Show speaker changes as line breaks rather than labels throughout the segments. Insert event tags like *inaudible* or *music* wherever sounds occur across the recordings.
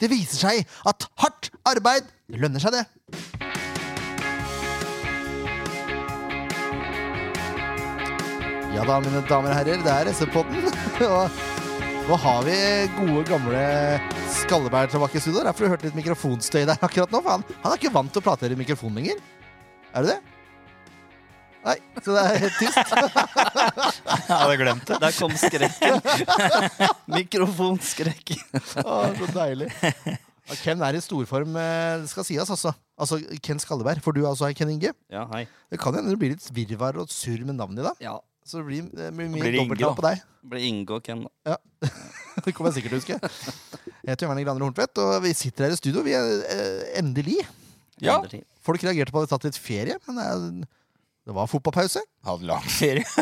Det viser seg at hardt arbeid det lønner seg, det. Ja da, mine damer og herrer, det er SV-podden. *laughs* Og nå har vi gode, gamle Skalleberg tilbake i studio. Derfor du hørte litt mikrofonstøy der akkurat nå. for Han, han er ikke vant til å prate i mikrofon lenger. Er du det? Nei, så det er helt tyst. *laughs*
Jeg hadde glemt det.
Der kom skrekken.
*laughs*
Mikrofonskrekken.
Å, så deilig. Ja, Ken er i storform, eh, det skal sies, altså. Altså Ken Skalleberg. For du altså er Ken Inge.
Ja, hei.
Det kan hende det blir litt virvar og surr med navnet i dag.
Ja,
Så det blir, det blir mye
blir det Inge,
dobbeltnavn på deg.
ble Inge og Ken, da.
*laughs* Det kommer jeg sikkert til å huske. Jeg heter Werner Graner Horntvedt, og vi sitter her i studio. Vi er eh, endelig.
Ja.
Endelig.
Folk reagerte på at vi hadde tatt litt ferie, men det, er- det var fotballpause.
Hadde lang ferie.
*laughs*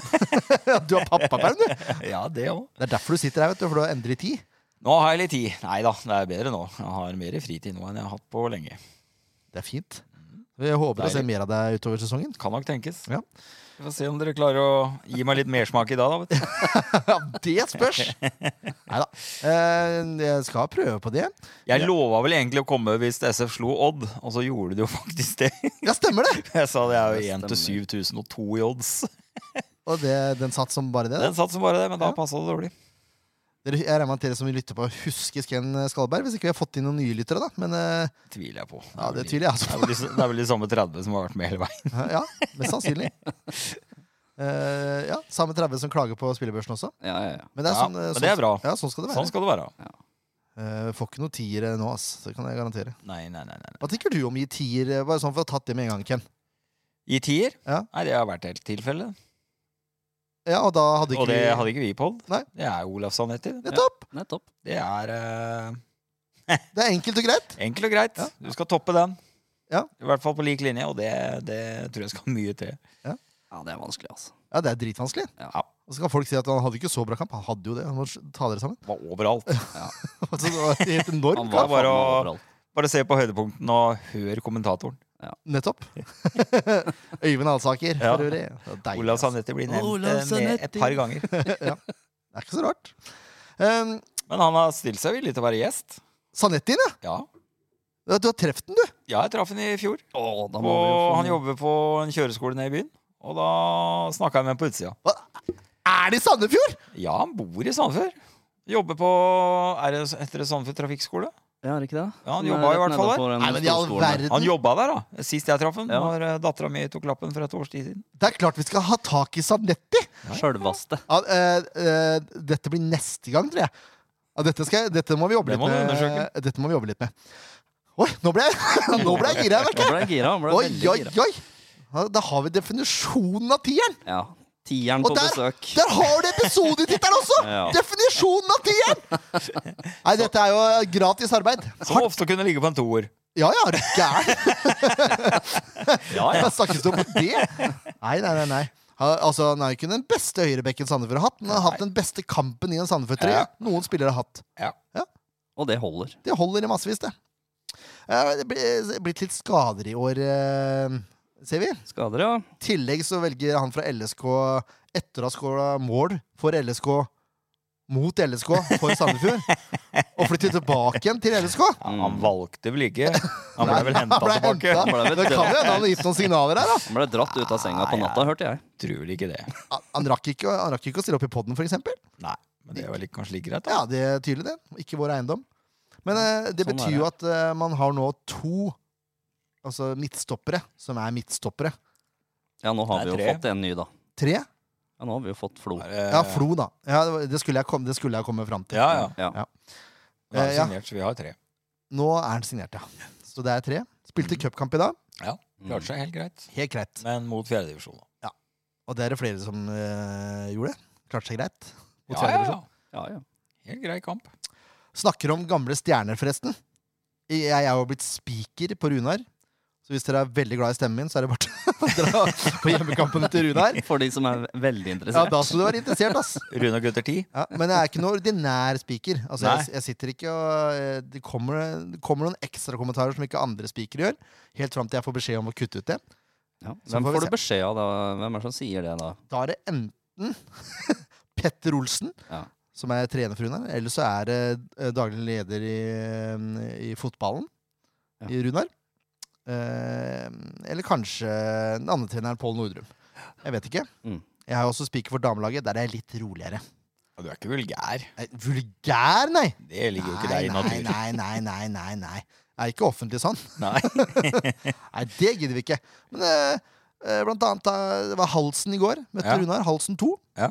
Ja, du har pappaperm, du!
Ja, det òg.
Det er derfor du sitter her, vet du, for du har endelig tid.
Nå har jeg litt tid. Nei da, det er bedre nå. Jeg har mer fritid nå enn jeg har hatt på lenge.
Det er fint. Vi håper å se
Deilig.
mer av deg utover sesongen. *laughs*
Kan nok tenkes.
Ja.
Vi får se om dere klarer å gi meg litt mersmak i dag, da.
*laughs*
vet du.
Ja, det spørs! Nei da. Eh, Jeg skal prøve på det.
Jeg lova vel egentlig å komme hvis SF slo Odd, og så gjorde de jo *laughs* faktisk det.
Ja, stemmer det!
Jeg sa det er
Det
jo 1 til
stemmer.
7002 i odds.
Og det, den satt som bare det. da.
Den satt som bare det, men da
Ja.
passa det dårlig.
Dere, jeg regner med at dere som lytter på, husker Sken Skalberg. Hvis ikke vi har fått inn noen nye lyttere, da. Men eh,
Tviler jeg på. Det er
ja,
vel
det
de-
tviler jeg altså
Det
på.
er vel de- det er vel de samme 30 som har vært med hele veien.
*laughs* Ja, mest
*laughs*
sannsynlig. Eh, ja, Samme 30 som klager på spillebørsen også.
Ja, ja, ja.
Men det er,
Ja,
sånn, eh,
men
sånn,
det er bra.
Ja, sånn skal det være.
Sånn skal det være.
Eh, får ikke noe tiere nå, ass. Det kan jeg garantere.
Nei, nei, nei. nei.
Hva tenker du om å gi tier? eh, Bare sånn for å ha tatt det med en gang, Ken.
I tier?
Ja.
Nei, det har vært helt tilfelle.
Ja, og da hadde ikke
Og det
vi-
hadde ikke vi på Odd.
Nei.
Det er Olav Sanetti.
Nettopp!
Nettopp.
Det er eh,
Det er enkelt og greit.
enkelt og greit.
Ja.
Du skal toppe den.
Ja.
I hvert fall på lik linje, og det, det tror jeg skal mye til.
Ja, det er vanskelig, altså.
Ja, det er dritvanskelig.
Ja.
Og så kan folk si at han hadde ikke så bra kamp. Han hadde jo det. Han må ta dere sammen. *laughs*
Det var overalt.
Altså, det var en helt enorm
Han
kamp.
var
var bare
bare
å-
overalt.
Bare se på høydepunkten og hør kommentatoren. *laughs*
Nettopp. Øyvind Alsaker,
Ja.
for øvrig. Det er deilig, altså.
Olav
ass.
Sanetti blir nevnt
Olav
eh, med et
Zanetti.
par ganger.
Det er ikke så rart. Um,
Men han har stilt seg villig til å være gjest.
Sanettin, ja.
Ja,
Ja, Du har truffet den, du.
ja jeg traff han i fjor.
Å, da må vi jo
Og
få
han
noe-
jobber på en kjøreskole nede i byen. Og da snakka jeg med ham på utsida.
Er det i Sandefjord?!
Ja, han bor i Sandefjord. Jobber på Er det etter Sandefjord trafikkskole?
Ja, er det ikke det?
Ja, han
Den er
jobba i
rett
hvert fall
nede
der.
for den
Nei, men i all
storskolen.
verden!
Han jobba der, da. Sist jeg traff han,
Ja.
var dattera mi tok lappen for et års tid siden.
Det er klart vi skal ha tak i Sanetti!
Sjølvaste.
Ja, eh, eh, dette blir neste gang, tror jeg. Ja, dette, skal, jeg- dette må vi jobbe
Det
litt
må du
med.
undersøke.
Dette må vi jobbe litt med. Oi, nå ble jeg, *laughs* nå ble jeg gira! jeg merker.
Da ble jeg gira. han Ble
Oi,
veldig
oi,
gira.
oi! Ja, Da har vi definisjonen av tieren!
Ja. Tieren
Og
på
der-
besøk.
Der har du episodetittelen
*laughs*
også!
Ja.
Definisjonen av tieren! Nei, dette er jo gratis arbeid.
Som ofte kunne ligge på en toer.
Ja ja, er du gæren?
*laughs* Ja,
Hva Snakkes det om det? Nei, nei, nei. nei. Ha, altså, Han er jo ikke den beste høyrebekken Sandefjord har hatt, men han har hatt den beste kampen i en Sandefjord-trøye
Ja.
noen spillere har hatt.
Og det holder.
Det holder i massevis, det. Eh, Det blir blitt litt skader i år, eh, ser vi.
Skader, ja.
I tillegg så velger han fra LSK, etter å ha skåra mål for LSK mot LSK for Sandefjord, å flytte tilbake igjen til LSK.
Han valgte vel ikke.
*laughs*
Han ble
Mm. Nei,
vel henta
ble
tilbake.
hentet.
ble vel
Det kan jo hende han har gitt noen signaler her, da.
Han ble dratt ut av senga på
Nei,
natta, hørte jeg.
Tror vel ikke det.
Han- Han rakk ikke, han rakk ikke å stille opp i poden, for eksempel.
Nei, men det er vel ikke kanskje like greit, da.
Ja, det er tydelig, det. Ikke vår eiendom. Men eh, det
Sånn er
betyr jo at eh, man har nå to altså midtstoppere som er midtstoppere.
Ja, nå har
Det
vi
er
jo
tre.
fått en ny, da.
Tre?
Ja, nå har vi jo fått Flo.
Er det-
Ja, Flo, da. Ja, det var- det skulle jeg komme, det skulle jeg komme fram til.
Eh. Ja, ja.
Ja.
Ja.
Da er
Eh,
det
ja.
signert, så vi har tre.
Nå er han signert, ja. Så det er tre. Spilte cupkamp i dag. Mm.
Mm.
Klarte seg helt greit.
Helt greit.
Men mot fjerdedivisjon, da.
Og det er det flere som eh, gjorde. Klarte seg greit. Mot
Ja, ja,
fjerdedivisjon.
ja.
Ja, ja.
Helt grei kamp.
Snakker om gamle stjerner, forresten. Jeg er jo blitt spiker på Runar. Så hvis dere er veldig glad i stemmen min, så er det bare *laughs* til å dra på hjemmekampene til
*laughs*
Runar.
*laughs* For de som er veldig
Ja,
interessert.
da skulle du være interessert, ass.
Rune og gutter 10.
Ja, men jeg er ikke noen ordinær spiker. Altså, jeg,
Nei.
jeg sitter ikke og eh, det kommer, det kommer noen ekstra kommentarer som ikke andre spikere gjør. Helt fram til jeg får beskjed om å kutte ut det.
Ja.
Så
Hvem
får vi
får du beskjed av da? Hvem er det som sier det, da?
Da er det enten *laughs* Petter Olsen,
Ja.
som er trenerfruen her. Eller så er det eh, daglig leder i, eh, i fotballen,
Ja.
i Runar. Eh, eller kanskje den andre treneren, Pål Nordrum. Jeg vet ikke.
Mm.
Jeg har jo også spiker for damelaget. Der er jeg litt roligere.
Ja, Du er ikke vulgær.
Nei, Vulgær, nei!
Det ligger jo ikke
Nei,
der i naturen.
Nei, nei, nei, nei, nei. Jeg er ikke offentlig sånn.
*laughs* Nei.
*laughs* Nei, det gidder vi ikke. Men eh, eh, blant annet da, det var Halsen i går. Møtte
Ja.
Runar. Halsen 2.
Ja.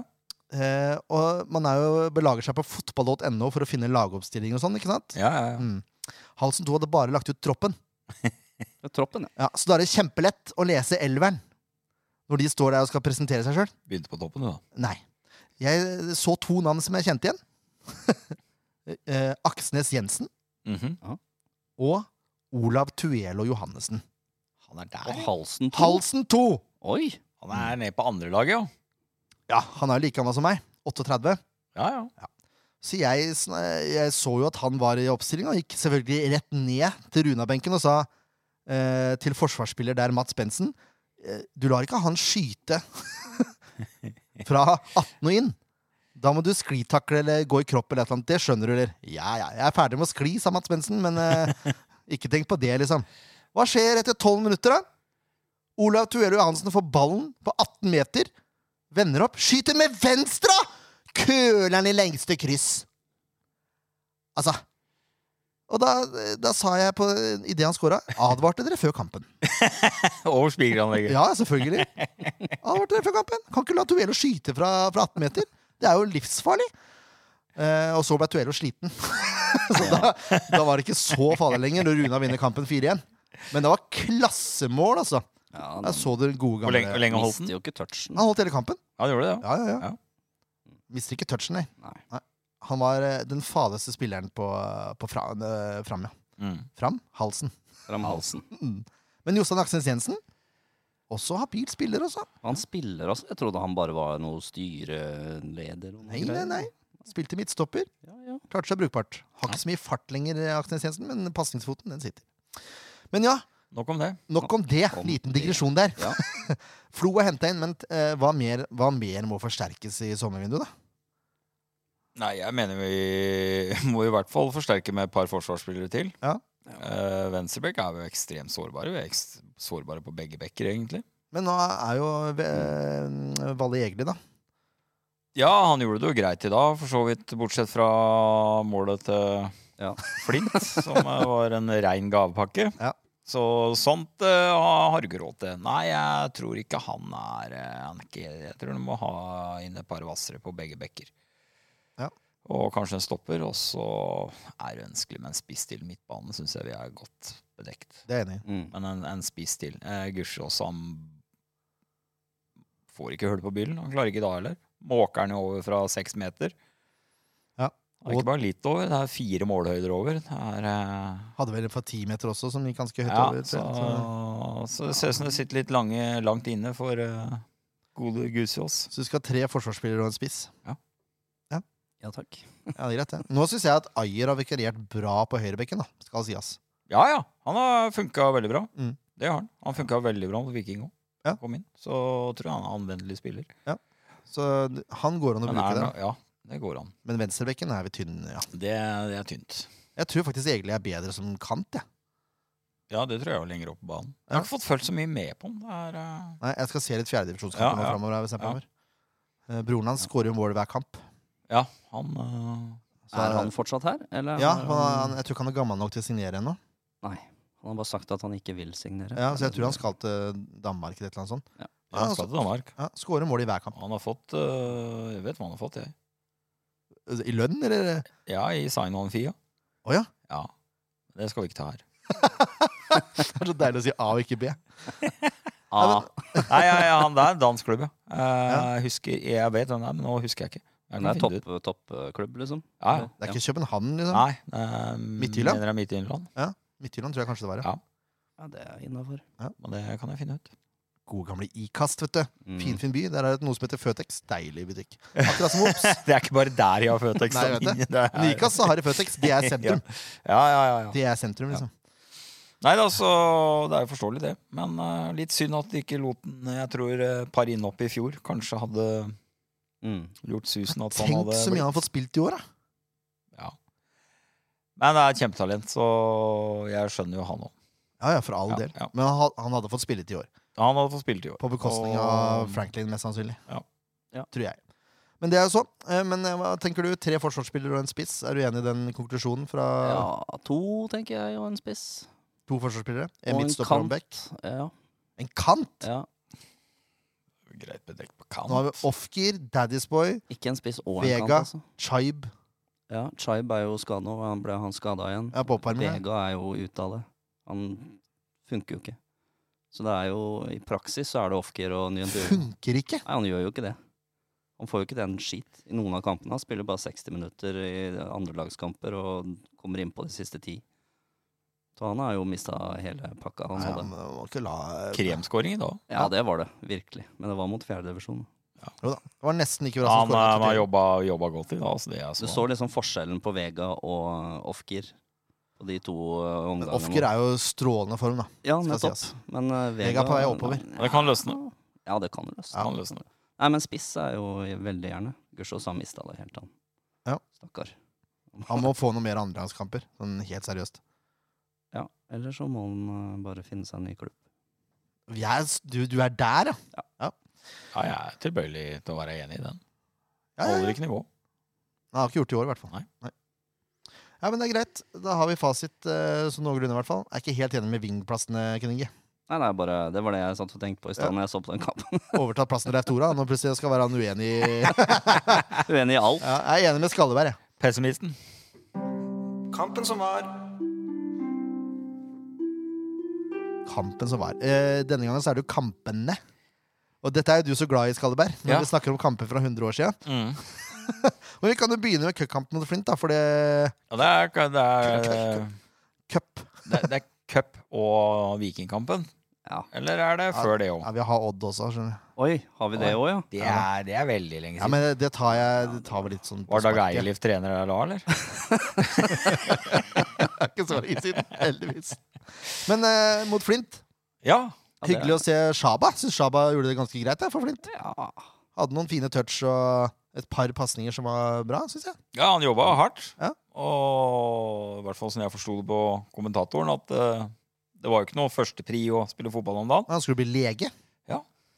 Eh, og man er jo, belager seg på fotball.no for å finne lagoppstilling og sånn. ikke sant?
Ja, ja, ja.
Mm. Halsen 2 hadde bare lagt ut troppen.
Det er Troppen, ja.
Ja, så da er det kjempelett å lese elveren når de står der og skal presentere seg sjøl.
Begynte på toppen, du, da.
Nei. Jeg så to navn som jeg kjente igjen. *laughs* eh, Aksnes Jensen
Mhm.
og Olav Tuelo Johannessen.
Han er
Og
der.
halsen to.
Halsen 2!
Oi!
Han er nede på andrelaget, jo.
Ja, han er jo like gammel som meg. 38.
Ja, ja.
Så jeg, sn- jeg så jo at han var i oppstillinga, og gikk selvfølgelig rett ned til Runa-benken og sa eh, til forsvarsspiller der, Mats Bensen, eh, du lar ikke han skyte *laughs* fra 18 og inn. Da må du sklitakle eller gå i kropp eller et eller annet. Det skjønner du, eller? Ja, ja, jeg er ferdig med å skli, sa Mats Bensen, men eh, ikke tenk på det, liksom. Hva skjer etter 12 minutter, da? Olav Tuello Johansen får ballen på 18 meter, vender opp, skyter med venstre! Køler'n i lengste kryss. Altså. Og da, da sa jeg på idet han scora Advarte dere før kampen.
*laughs* Over spigeranlegget.
Ja, selvfølgelig. Advarte dere før kampen. Kan ikke la Tuello skyte fra, fra 18 meter. Det er jo livsfarlig. Eh, og så ble Tuello sliten. *laughs* så da, da var det ikke så farlig lenger når Runa vinner kampen 4-1. Men det var klassemål, altså.
Ja,
Jeg så det gode
Hvor lenge, hvor
gamle
lenge holdt den?
mister jo ikke touchen.
Han holdt hele kampen.
Han gjorde det, ja.
Ja, ja, ja.
Ja.
Mister ikke touchen, nei.
Nei.
Han var eh, den farligste spilleren på, på fra, eh, fram, ja.
Mm.
Fram? Halsen.
Fram halsen.
Men Jostein Aksnes Jensen, også habil spiller, altså.
Han spiller altså. Jeg trodde han bare var noe styreleder. og noe
Nei, nei,
greier.
nei. Spilte midtstopper.
Ja, ja.
Klarte seg brukbart. Har ikke så mye fart lenger, eh, Aksnes Jensen, men pasningsfoten, den sitter. Men ja,
Nok om det.
nok om det.
Om
Liten
det.
digresjon der.
Ja.
*laughs* Flo er henta inn, men eh, hva, mer, hva mer må forsterkes i sommervinduet, da?
Nei, jeg mener vi *laughs* må i hvert fall forsterke med et par forsvarsspillere til.
Ja.
Eh, Venstrebekk er jo ekstremt sårbare. Vi er ekst sårbare på begge bekker, egentlig.
Men nå er jo eh, Valle Egli, da.
Ja, han gjorde det jo greit i dag, for så vidt, bortsett fra målet til
Ja.
*laughs* Flint, som eh, var en rein gavepakke.
Ja.
Så sånt eh, har du ikke råd til. Nei, jeg tror ikke han er, eh, han er ikke, Jeg tror du må ha inn et par hvassere på begge bekker.
Ja.
Og kanskje en stopper, og så er det ønskelig med en spiss til midtbanen, syns jeg vi er godt bedekt.
Det er jeg enig i.
Mm.
Men en, en spiss til. Eh, Gusjås, han får ikke hull på byllen. Han klarer ikke da heller. Måker han jo over fra seks meter.
Ja,
Det er
og-
ikke bare litt over, det er fire målhøyder over. Det er, eh,
Hadde vel en fra ti meter også, som gikk ganske høyt
ja,
over.
så,
tror jeg.
så det ser ut som det sitter litt lange, langt inne for eh, gode Gusjås.
Så du skal ha tre forsvarsspillere og en spiss.
ja takk.
Ja, det er greit, det. Nå syns jeg at Ayer har vikariert bra på høyrebekken, da. Skal sies.
Ja, ja. Han har funka veldig bra.
Mm.
Det har han. Han funka veldig bra på Viking òg.
Ja.
Kom inn. Så tror jeg han er anvendelig spiller.
Så d- han går an å
Men
bruke
er,
det.
ja, det går an.
Men venstrebekken er vi tynn, ja.
Det, det er tynt.
Jeg tror faktisk egentlig jeg er bedre som kant, jeg.
Ja, det tror jeg var lenger opp på banen. Jeg
Ja.
har ikke fått følt så mye med på den. Det er, eh,
Nei, jeg skal se litt fjerdedivisjonskamper
Ja,
nå
ja.
framover. hvis jeg
Ja.
kommer. Eh, Broren hans skårer jo mål hver kamp.
ja, han eh,
Så
er han fortsatt her, eller?
Ja,
er
han, han, jeg tror ikke han er gammel nok til å signere ennå.
Nei. Han har bare sagt at han ikke vil signere.
Ja, så jeg tror han skal til Danmark eller et eller annet sånt.
Ja.
Ja, altså
Han skal
så-
til Danmark.
ja, Skårer mål i hver kamp.
Han har fått eh, Jeg vet hva han har fått, jeg.
Eh, I lønn, eller?
Ja, i sign-on fia.
Å ja.
Ja. Det skal vi ikke ta her.
Det er så deilig å si A og ikke B.
Ah,
*laughs* Nei, ja, ja, han der, dansk klubb, ja. Eh, jeg husker, jeg vet hvem det er, men nå husker jeg ikke.
det
Jeg kan
er
finne det ut.
toppklubb, topp eh, klubb, liksom.
Ja, ja.
Det er ikke København, liksom.
Nei, eh,
Midtjylland?
Mener det er Midtjylland,
Midtjylland tror jeg kanskje det var. Ja.
Ja.
Ja, det er innafor.
men det kan jeg finne ut. *laughs*
Gode gamle ikast, vet du.
Mm.
Finfin by. Der er det noe som heter Føtex. Deilig butikk. Akkurat som
*laughs*
Ops.
Det er ikke bare der jeg har Føtex.
Nei, jeg vet det. Men Ikast så har de Føtex. Det er sentrum.
*laughs* Ja, ja, ja, ja.
Det er sentrum, liksom.
Nei da, så det er jo forståelig, det. eh, Men eh, litt synd at de ikke lot den Jeg tror eh, par inne opp i fjor kanskje hadde
Mm.
Gjort susen at han
Tenk
hadde
så mye han har fått spilt i år, da.
Ja. Men det er et kjempetalent, så jeg skjønner jo han òg.
Ja, ja, for all
Ja,
del.
ja.
Men han, had- han hadde fått spillet i år.
Han hadde fått spilletid i år.
På bekostning
Og-
av Franklin, mest sannsynlig.
Ja.
Ja.
Tror jeg. Men det er jo sånn. Eh, Men eh, hva tenker du? Tre forsvarsspillere og en spiss. Er du enig i den konklusjonen fra
Ja, to, tenker jeg, og en spiss.
to forsvarsspillere? En
Og en
midtstopper og en back?
kant. Ja,
En kant!
ja.
Greit bedekt på
Nå har vi
kant.
Ofgir, Daddy's Boy,
Ikke en spiss og en
Vega.
kant, altså.
Chaib
Ja, Chaib er jo skada, og han ble han skada igjen.
er på oppvarmingen.
Vega er jo ute av det. Han funker jo ikke. Så det er jo I praksis så er det Ofker og Nyantur.
Funker ikke!
Nei, han gjør jo ikke det. Han får jo ikke den skit i noen av kampene. Han spiller bare 60 minutter i andrelagskamper og kommer innpå de siste ti. Så han har jo mista hele pakka han
Nei,
hadde.
men man må ikke la
Kremskåring i dag.
Ja, det var det. Virkelig. Men det var mot fjerdedivisjon.
Jo da. Det var nesten like bra som skåringen
Han, eh, han
til
har
Tyrell.
jobba, jobba godt i dag. Så det er
Du
så-
så liksom forskjellen på Vega og Ofker på de to eh,
Men
omgangene.
Ofgir er jo strålende form, da.
ja,
skal
nettopp.
sies.
Men eh,
Vega
Vega
er på vei oppover.
Det kan løsne.
Ja, det kan løsne.
Han løsner det.
Nei, men spiss er jo veldig gjerne. Gusjås har mista det helt, han.
Ja.
Stakkar.
Han må få noe mer andrehandskamper. Sånn helt seriøst.
Ja, eller så må han eh, bare finne seg en ny klubb.
Jeg, er s- du, du er der, ja!
Ja, jeg er tilbøyelig til å være enig i den.
ja, ja, ja.
Holder ikke nivå.
Han har ikke gjort det i år, i hvert fall.
Nei.
Ja, men det er greit. Da har vi fasit eh, sånn noenlunde, i hvert fall. Jeg er ikke helt enig med vingplassene, Kninge.
Nei, nei, bare, det var det jeg satt og tenkte på i stad når jeg så på den kampen. *laughs*
Overtatt plassen til Leif Tora. Nå plutselig skal være han uenig i *laughs*
Uenig i alt.
ja, Jeg er enig med Skalleberg, jeg.
Pessimisten.
Kampen som var.
Kampen som var. Eh, denne gangen så er det jo kampene. Og dette er jo du så glad i, Skalleberg, når
Ja.
vi snakker om kamper fra 100 år siden.
Mm.
*laughs* Men vi kan jo begynne med cupkampen mot Flint, da, for det
Ja, det er, det er,
Cup.
det er, det er cup og Vikingkampen.
Ja.
Eller er det før det òg?
Ja, vi har Odd også, skjønner du.
Oi, har vi det òg, ja?
Det, er- det er veldig lenge
Ja,
siden.
men det tar jeg det tar vel litt sånn på
Var Dag
sparket.
Eilif trener der da, eller?
Det er *laughs* ikke så lenge siden, heldigvis. Men eh, mot Flint
Ja.
Ja, det er-
Hyggelig å se Shaba. Syns Shaba gjorde det ganske greit. Der, for Flint.
Ja.
Hadde noen fine touch og et par pasninger som var bra, syns jeg.
ja, han jobba hardt.
Ja.
Og i hvert fall som jeg forsto det på kommentatoren, at eh, det var jo ikke noe førstepri å spille fotball om dagen.
Men Han skulle bli lege,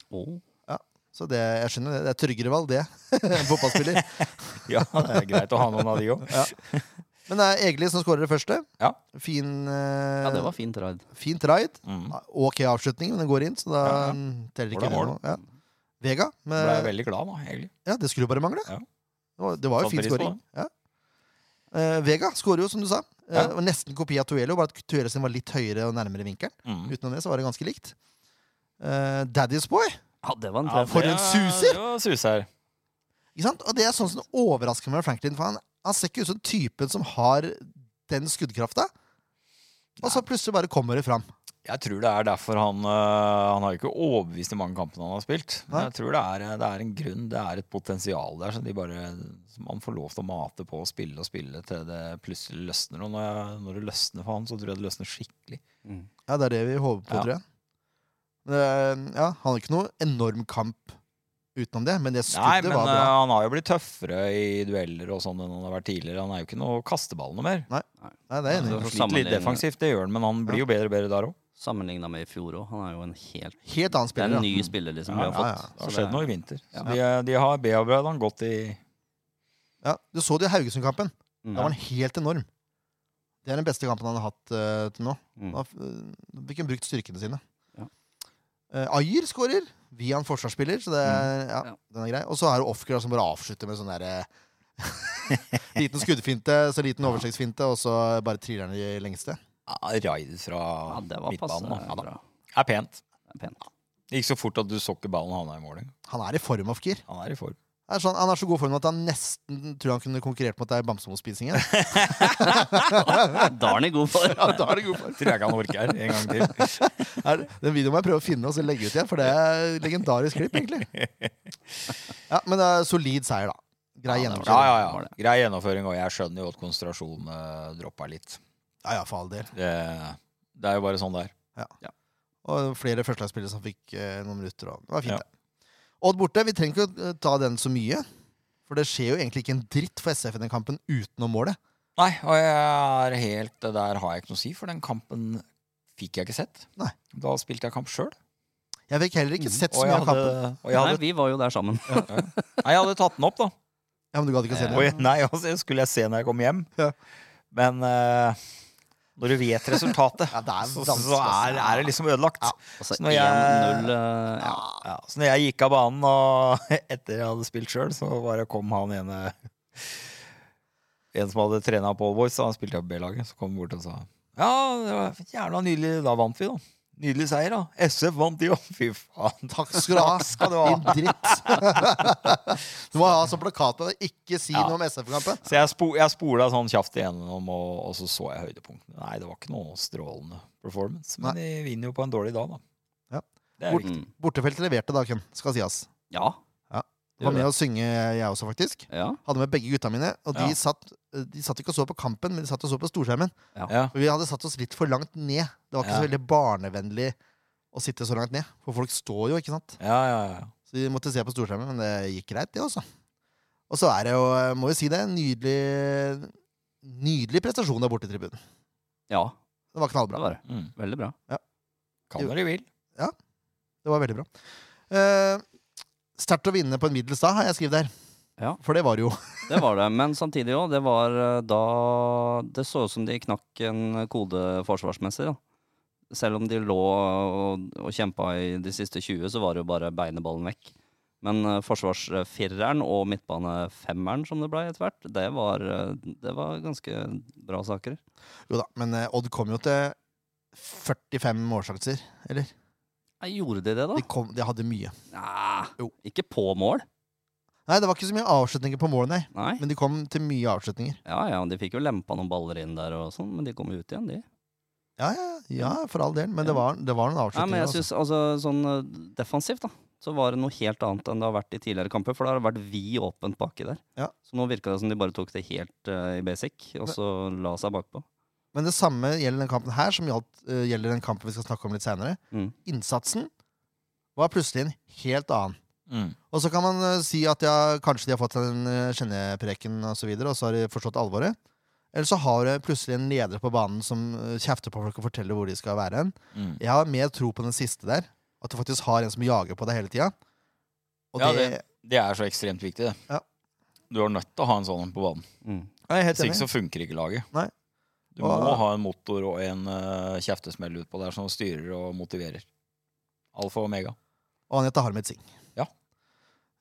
Å,
så det, jeg skjønner det. Det er tryggere valg, det. *laughs* Enn fotballspiller.
Ja, *laughs* det er greit å ha noen av de òg.
Men det er Egeli som skårer det første.
Ja.
Fin, eh,
ja, det var fint raid.
fint raid.
Mm.
Ok avslutning, men den går inn, så da
Ja, ja.
mm, teller
Hvor
ikke
det er
det
mål.
noe. Ja. Vega.
Ble jeg
Med,
veldig glad, da, egentlig.
ja, det skulle jo bare mangle.
Ja.
Det var- Det var jo
Satt
fin
pris på
skåring. Ja. Eh, Vega skårer jo, som du sa. Eh,
Ja.
det var nesten kopi av Tuello, bare at Tuello sin var litt høyere og nærmere vinkelen.
Mm.
Utenom det så var det ganske likt. Eh, Daddy's Boy.
Ja, det var en
Ja,
treff.
for en suser!
Ja, det var suser.
Ikke sant? Og det er sånn som overrasker meg med Franklin. For han, han ser ikke ut som typen som har den skuddkrafta. Og så plutselig bare kommer det fram.
Jeg tror det er derfor han øh, Han har jo ikke overbevist i mange kampene han har spilt. Men
Nei.
jeg tror det er, det er en grunn, det er et potensial der som de bare Som han får lov til å mate på og spille og spille til det plutselig løsner. Og når, jeg, når det løsner for han, så tror jeg det løsner skikkelig.
Mm.
Ja, det er det vi håper på,
Ja.
tror jeg. Eh, ja, han hadde ikke noe enorm kamp utenom det, men det
Nei,
skuddet
men
var
øh,
eh,
bra.
han har jo blitt tøffere i dueller og sånn enn han har vært tidligere. Han er jo ikke noe kasteball noe mer.
Nei, det er jeg enig. i.
for
Han sliter litt
sammenligning-
defensivt, det gjør han, men han blir jo bedre og bedre der òg.
Sammenligna med i fjor òg. Han er jo en helt
Helt annen
Det er en
spiller. da.
ny spiller, liksom, vi
Ja,
ja,
har fått.
ja.
Det har
Så
skjedd
det-
noe i vinter.
Ja.
Så de, de har bearbeidet han godt i
Ja, du så det i Haugesund-kampen.
Mm.
Da var han helt enorm. Det er den beste kampen han har hatt eh, til nå.
Mm.
Da eh, fikk han brukt styrkene sine.
Ja.
Eh, Ayer skårer via en forsvarsspiller, så det er, ja,
Mm. Ja.
den er grei. Og så er det Offgrad som bare avslutter med sånn derre *laughs* Liten skuddfinte, så
*laughs*
liten oversiktsfinte, og så bare triller han i lengste.
ja, raid fra
Ja, det var passe
midtbanen. da. Ja, da.
bra.
Det er pent.
Det er pent.
Det gikk så fort at du så ikke ballen havna i mål. engang.
Han er i form, Offgir.
Han er i form.
Sånn, han er så god form at han nesten tror han kunne konkurrert mot deg i Bamsemospisingen.
Da er han i god form.
*laughs* Ja, da er det god form.
Tror jeg ikke han orker en gang til.
Er, den videoen må jeg prøve å finne og så legge ut igjen, for det er et legendarisk klipp, egentlig. *laughs* Ja, Men det er solid seier, da. *laughs* Grei
Ja, det var
Ja,
gjennomføring.
ja, ja. Grei gjennomføring, og jeg skjønner jo at konsentrasjonen uh, droppa litt.
Ja, ja, for all del.
Det, det er jo bare sånn det er.
Og flere førstelagsspillere som fikk eh, noen minutter. Og det var fint,
Ja.
det. Odd borte, vi trenger ikke å eh, ta den så mye. For det skjer jo egentlig ikke en dritt for SF i den kampen utenom målet.
Nei, og jeg er helt det Der har jeg ikke noe å si, for den kampen fikk jeg ikke sett.
Nei.
Da spilte jeg kamp sjøl.
Mm. Jeg fikk heller ikke sett så
Og,
mye
jeg
av
hadde,
kampen.
og jeg,
Nei,
*laughs* hadde,
vi var jo der sammen.
nei, jeg hadde tatt den opp, da.
Ja, men du gadd ikke å se
Og
det.
jeg, nei, altså, det skulle jeg se når jeg kom hjem.
Ja.
Men eh, når du vet resultatet,
Ja, det er
så,
vanskelig,
så er,
altså.
er det liksom ødelagt.
Ja.
Altså
Så når jeg-
1-0 eh, ja.
Ja, så når jeg gikk av banen og *laughs* etter jeg hadde spilt sjøl, så bare kom han ene En som hadde trena på Allboys, han spilte jeg på B-laget, så kom han bort og sa Ja, det var jævla nydelig. Da vant vi, da. Nydelig seier, da. SF vant, de òg. *laughs* Fy faen.
Takk skal du ha,
skal du
din
ha.
dritt. *laughs* Du må ha sånn plakat med deg. Ikke si
Ja.
noe om SF-kampen.
Så jeg, spo, jeg spola sånn kjapt igjennom, og, og så så jeg høydepunktene. Nei, det var ikke noe strålende performance, men de vinner jo på en dårlig dag, da.
Ja.
Det er viktig.
Mm.
Bortefeltet leverte da, Ken. Skal sies.
ja.
Jeg Var med å synge, jeg også, faktisk.
ja.
Hadde med begge gutta mine. Og de,
Ja.
satt, de satt ikke og så på kampen, men de satt og så på storskjermen.
Ja.
For vi hadde satt oss litt for langt ned. Det var ikke
Ja.
så veldig barnevennlig å sitte så langt ned. For folk står jo, ikke sant.
Ja, ja, ja.
Så vi måtte se på storskjermen, men det gikk greit, det også. Og så er det jo, må vi si det, en nydelig, nydelig prestasjon der borte i tribunen.
ja.
Det var knallbra.
Bra var det.
Mm.
Veldig bra.
Kan når de vil.
Det var veldig bra. Eh, Sterkt å vinne på en middels da, har jeg skrevet der.
Ja.
For det var det jo.
Det var det. Men samtidig òg, det var eh, da Det så ut som de knakk en kode forsvarsmessig, da. Selv om de lå og, og kjempa i de siste 20, så var det jo bare beineballen vekk. Men eh, forsvarsfireren og midtbanefemmeren som det ble etter hvert, det var, eh, det var ganske bra saker.
Jo da, men eh, Odd kom jo til 45 målsjanser, eller?
Nei, gjorde de det, da?
De, kom, de hadde mye.
Nei,
Jo.
ikke på mål.
Nei, det var ikke så mye avslutninger på målet, nei.
Nei.
Men de kom til mye avslutninger.
Ja, ja, de fikk jo lempa noen baller inn der og sånn, men de kom jo ut igjen, de.
Ja, ja, ja, for all del. Men det var, det var noen
Nei,
avslutninger.
men jeg
altså.
synes, altså, sånn eh, defensivt, da, så var det noe helt annet enn det har vært i tidligere kamper, for det har vært vid åpent bakke der.
Ja.
Så nå virka det som de bare tok det helt eh, i basic, og så la seg bakpå.
Men det samme gjelder den kampen her, som gjaldt, eh, gjelder den kampen vi skal snakke om litt senere.
Mm.
Innsatsen var plutselig en helt annen.
Mm.
Og så kan man eh, si at ja, kanskje de har fått seg en eh, kjennepreken og så videre, og så har de forstått alvoret. Eller så har du plutselig en leder på banen som eh, kjefter på folk og forteller hvor de skal være hen.
Mm.
Jeg har mer tro på den siste der. At du faktisk har en som jager på deg hele tida. Og
Ja,
det,
Det er så ekstremt viktig, det.
Ja.
Du er nødt til å ha en sånn en på banen.
Mm.
Jeg er helt
Hvis ikke
enig.
så funker ikke laget.
Nei.
Du må
Og-
ha en motor og en uh, kjeftesmell utpå der som styrer og motiverer. Alfa og omega.
Mm. Og han heter Harmet Singh.
Ja.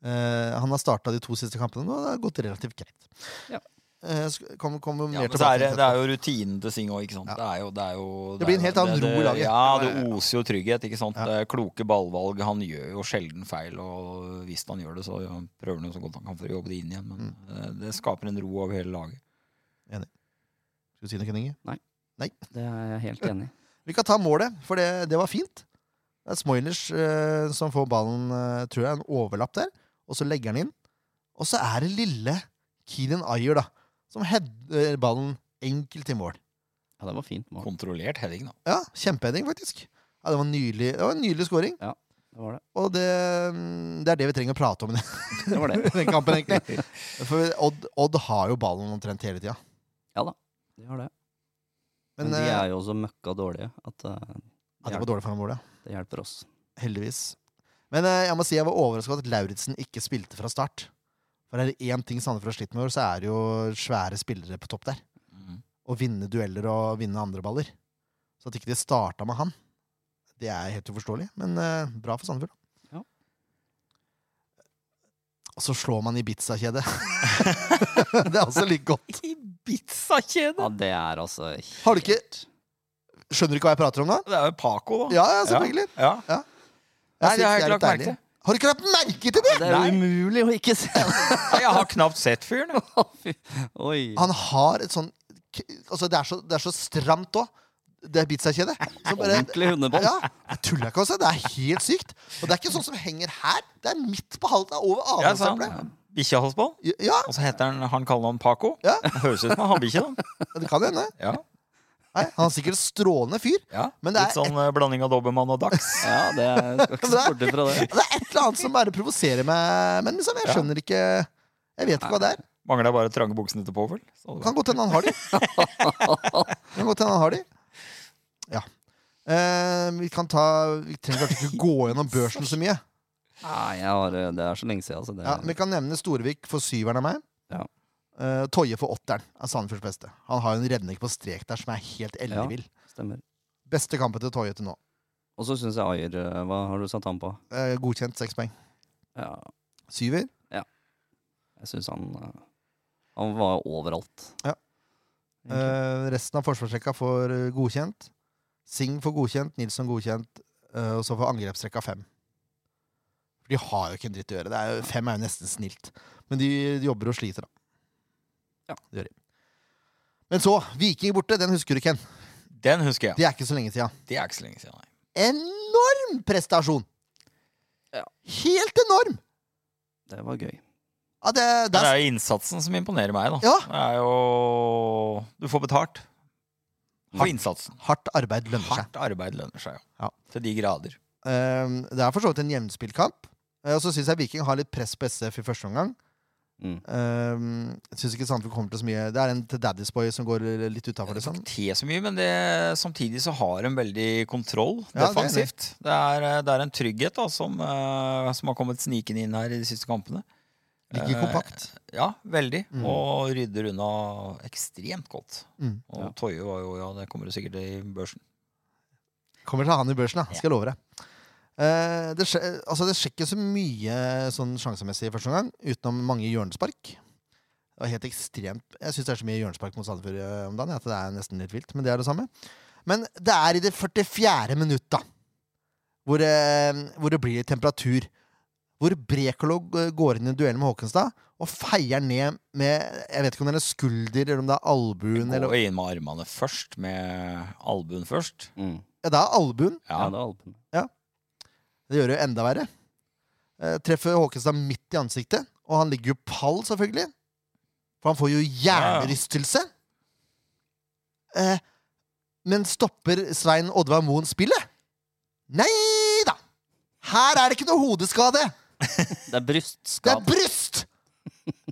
Eh, han har starta de to siste kampene nå, og det har gått relativt greit.
Ja.
Eh, sk- kom, kom mer
Ja, men så
tilbake
er det,
til
det er jo rutinen til Singh òg, ikke sant.
Ja.
Det, er jo, det, er jo,
Det blir en
er jo-
helt annen
det-
ro i laget.
det- Ja, det oser jo trygghet, ikke sant.
Ja.
Det er Kloke ballvalg. Han gjør jo sjelden feil, og hvis han gjør det, så prøver han jo så godt han kan for å jobbe det inn igjen. Men
Mm.
eh, det skaper en ro over hele laget.
Skal du si noe, Kenninge?
Det er jeg helt enig i.
Vi kan ta målet, for det, det var fint. Det er Smoilers eh, som får ballen, eh, tror jeg, en overlapp der. Og så legger han inn. Og så er det lille Keenan Ayer, da, som header ballen enkelt i mål.
Ja, det var fint mål.
Kontrollert heading, da.
Ja, kjempeheading, faktisk. Ja, det var nydelig. Det var en nydelig scoring.
Det var det.
Og det, mm, det er det vi trenger å prate om i *laughs* den-
det, var det.
den kampen, egentlig. For Odd, Odd har jo ballen omtrent hele tida.
De har det.
Men,
Men de
eh,
er jo så møkka dårlige at eh,
ja, det var dårlig for ham, målet.
det hjelper oss.
Heldigvis. Men eh, jeg må si jeg var overraska over at Lauritzen ikke spilte fra start. For er det én ting Sandefjord har slitt med i år, så er det jo svære spillere på topp der.
Mhm.
Å vinne dueller og vinne andre baller. Så at ikke de starta med han, det er helt uforståelig. Men eh, bra for Sandefjord, da.
Ja.
Og så slår man Ibiza-kjedet. *laughs* det er også litt godt.
Ibiza-kjedet!
Ja, det er altså
Har du ikke Skjønner du ikke hva jeg prater om nå?
Det er jo Paco, da.
Ja, ja, selvfølgelig.
Ja.
Ja.
Nei,
Jeg
det har
synes
jeg
er
ikke
litt
lagt merke
deilig.
til.
Har du ikke lagt merke til det?!
Det er jo umulig å ikke se det!
Jeg har knapt sett fyren. jeg.
*laughs*
Oi.
Han har et sånn k- altså det, er så, det er så stramt òg, det pizza-kjedet. Så bare-
Ordentlig hundebånd.
Ja, jeg tuller ikke, altså. Det er helt sykt. Og det er ikke sånn som henger her. Det er midt på halsen. det er Over
Ja, sa han.
adamsseplet.
Bikkjehalsbånd.
Ja,
Og så heter han han kaller han Paco.
Ja.
Høres ut som en hannbikkje, da.
det kan hende.
Ja.
Nei, Nei, han er sikkert en strålende fyr.
Ja,
Men det er
Litt sånn eh, blanding av Dobermann og Dax.
Ja, det er, skal ikke se bort ifra det.
Det er et eller annet som bare provoserer meg. Men liksom, jeg
Ja.
skjønner ikke Jeg vet ikke hva det er.
Mangler bare trange buksene til Powell. Så hadde det
Kan godt hende han har de. kan godt hende han har de. Ja. Eh, vi kan ta Vi trenger kanskje ikke gå gjennom børsen så mye.
Nei, jeg har, det er så lenge siden, altså. Det,
Ja, vi kan nevne Storvik for syveren av meg.
Ja.
Eh, Toje for åtteren er Sandefjords beste. Han har jo en redning på strek der som er helt ellevill.
stemmer.
Beste kampen til Toje til nå.
Og så syns jeg Ayer eh, Hva har du satt han på?
Eh, godkjent seks poeng.
Ja,
Syver.
jeg syns han eh, Han var overalt.
Ja.
Egentlig.
Eh, resten av forsvarsrekka får eh, godkjent. Singh får godkjent, Nilsson godkjent, eh, og så får angrepsrekka fem. For de har jo ikke en dritt å gjøre. Det er jo, fem er jo nesten snilt. Men de, de jobber og sliter, da.
Ja.
Det gjør de. Men så, Viking borte, den husker du, Ken.
vært- Den husker jeg.
Det er ikke så lenge sida.
Det er ikke så lenge siden, nei.
Enorm prestasjon!
Ja.
Helt enorm!
Det var gøy.
Ja, det,
Det
det er,
er jo innsatsen som imponerer meg, da.
ja,
Det er jo Du får betalt for innsatsen.
hardt arbeid lønner seg.
Hardt arbeid lønner seg,
Ja.
ja. Til de grader.
Ehm, det er for så vidt en jevnspillkamp. Eh, Og så syns jeg Viking har litt press på SF i første omgang.
Mm.
Ehm, jeg synes ikke Sandefjord kommer til så mye Det er en til Daddy's Boy som går litt utafor,
Det er
liksom.
ikke te så mye, men det, samtidig så har en veldig kontroll
Ja, det er
defensivt. Det er, eh, det er en trygghet da, som, eh, som har kommet snikende inn her i de siste kampene.
Ligger kompakt.
Ja, veldig.
Mm.
Og rydder unna ekstremt godt.
Mm.
Og
Ja.
Toje var jo Ja, det kommer jo sikkert i børsen.
Kommer til å ha han i børsen, da. Skal jeg love deg. Eh, det, skje, altså det skjer ikke så mye sånn sjansemessig i første omgang, utenom mange hjørnespark. Det var helt ekstremt Jeg syns det er så mye hjørnespark mot Sandefjord eh, om dagen at det er nesten litt vilt. Men det er det samme. Men det er i det 44. minutt, da, hvor, eh, hvor det blir litt temperatur. Hvor Brekalo eh, går inn i en duell med Håkenstad og feier ned med Jeg vet ikke om det er en skulder eller om det er albuen
Gå
eller,
inn med armene først, med albuen først.
Mm.
Ja, det er albuen.
Ja,
Ja,
det var Alpen.
Det gjør det jo enda verre. Eh, treffer Håkenstad midt i ansiktet, og han ligger jo pall, selvfølgelig. For han får jo hjernerystelse. Eh, men stopper Svein Oddvar Moen spillet? Nei da! Her er det ikke noe hodeskade!
Det er
Det er
brystskade.
bryst!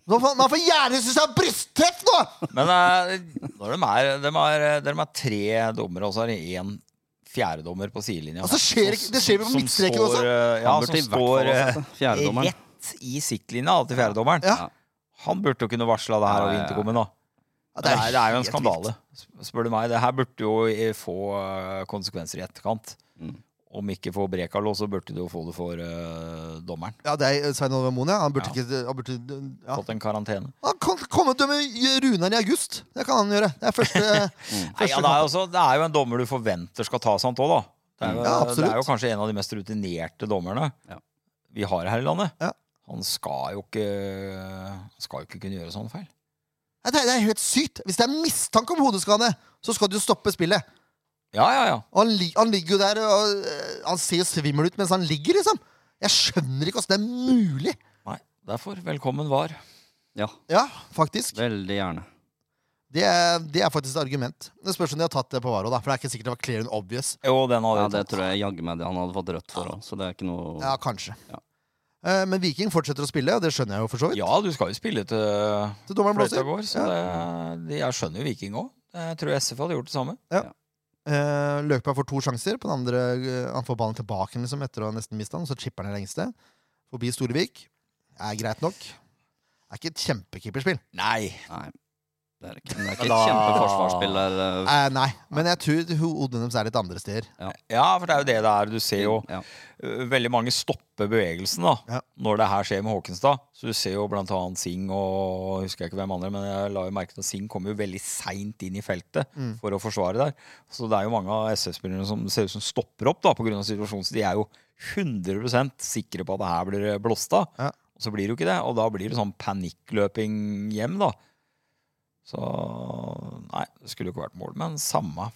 Nå får, man får hjernerystelse av brysttreff nå!
*laughs* Men eh, når de er, de er, eh, de er tre dommere, og så er det én fjerdedommer på sidelinja.
Altså, skjer ikke- det skjer vel på
Som
midtstreken
står,
også?
eh, Ja,
Han burde
som
i hvert
står
fall ha
eh,
sett det. Fjerdedommeren.
rett i siktlinja da, til fjerdedommeren.
Ja.
Han burde jo kunne varsla det her
Ja,
av
ja, ja.
Intercomen. da.
Ja,
Det er, det er jo en
helt
skandale,
vilt.
sp- spør du meg. Det her burde jo eh, få eh, konsekvenser i etterkant.
Mm.
Om ikke for Brekalo, så burde du jo få det for eh, dommeren.
Ja, det er Svein Oddvar Moen, ja. Han burde
Ja.
ikke han burde, ja.
Fått en karantene.
Han kan komme og dømme Runar i august. Det kan han gjøre. Det er
*laughs*
første
Mm. Nei, ja, det, er jo også, det er jo en dommer du forventer skal ta sånt òg, da. Det er,
Mm.
jo,
Ja,
det er
absolutt.
jo kanskje en av de mest rutinerte dommerne
Ja.
vi har her i landet.
Ja.
Han skal jo ikke han Skal jo ikke kunne gjøre sånne feil.
Nei, Det er, det er helt sykt. Hvis det er mistanke om hodeskade, så skal du jo stoppe spillet.
Ja, ja, ja.
Og han, li han ligger jo der og øh, han ser jo svimmel ut mens han ligger, liksom. Jeg skjønner ikke åssen det er mulig.
Nei, derfor velkommen var.
Ja,
Ja, faktisk.
veldig gjerne.
Det er, det er faktisk et argument. Det spørs om de har tatt det på Varo, da. For det er ikke sikkert det var clear and obvious.
Jo, den hadde
Ja,
jeg
det
tatt.
tror jeg jaggu meg det han hadde fått rødt for òg, så det er ikke noe
Ja, kanskje.
Ja.
Eh, Men Viking fortsetter å spille, og det skjønner jeg jo for så vidt.
Ja, du skal jo spille til
Så dommeren
fløyta
blåser.
går, så det, det, jeg skjønner jo Viking òg. Jeg tror SF hadde gjort det samme.
Eh, Løkberg får to sjanser. På den andre eh, Han får ballen tilbake liksom, etter å ha nesten mista den, så chipper han i lengste. Forbi Storevik. Er greit nok. Er ikke et kjempekeeperspill.
Nei.
Nei. Det er ikke, det er ikke
Men
et
da-
kjempeforsvarsspill der. eh,
Eh, nei, men jeg tror hodene deres er litt andre steder.
Ja, for det er jo det det er. Du ser jo
Ja.
eh, veldig mange stopper bevegelsen da
Ja.
når det her skjer med Håkenstad. Så du ser jo blant annet Singh og jeg husker ikke hvem andre, men jeg la jo merke til at Singh kom jo veldig seint inn i feltet
Mm.
for å forsvare der. Så det er jo mange av SF-spillerne som ser ut som stopper opp da pga. situasjonen. Så de er jo 100 sikre på at det her blir eh, blåst av.
Ja.
Og så blir det jo ikke det. Og da blir det sånn panikkløping hjem, da. Så Nei, det skulle jo ikke vært mål, men samme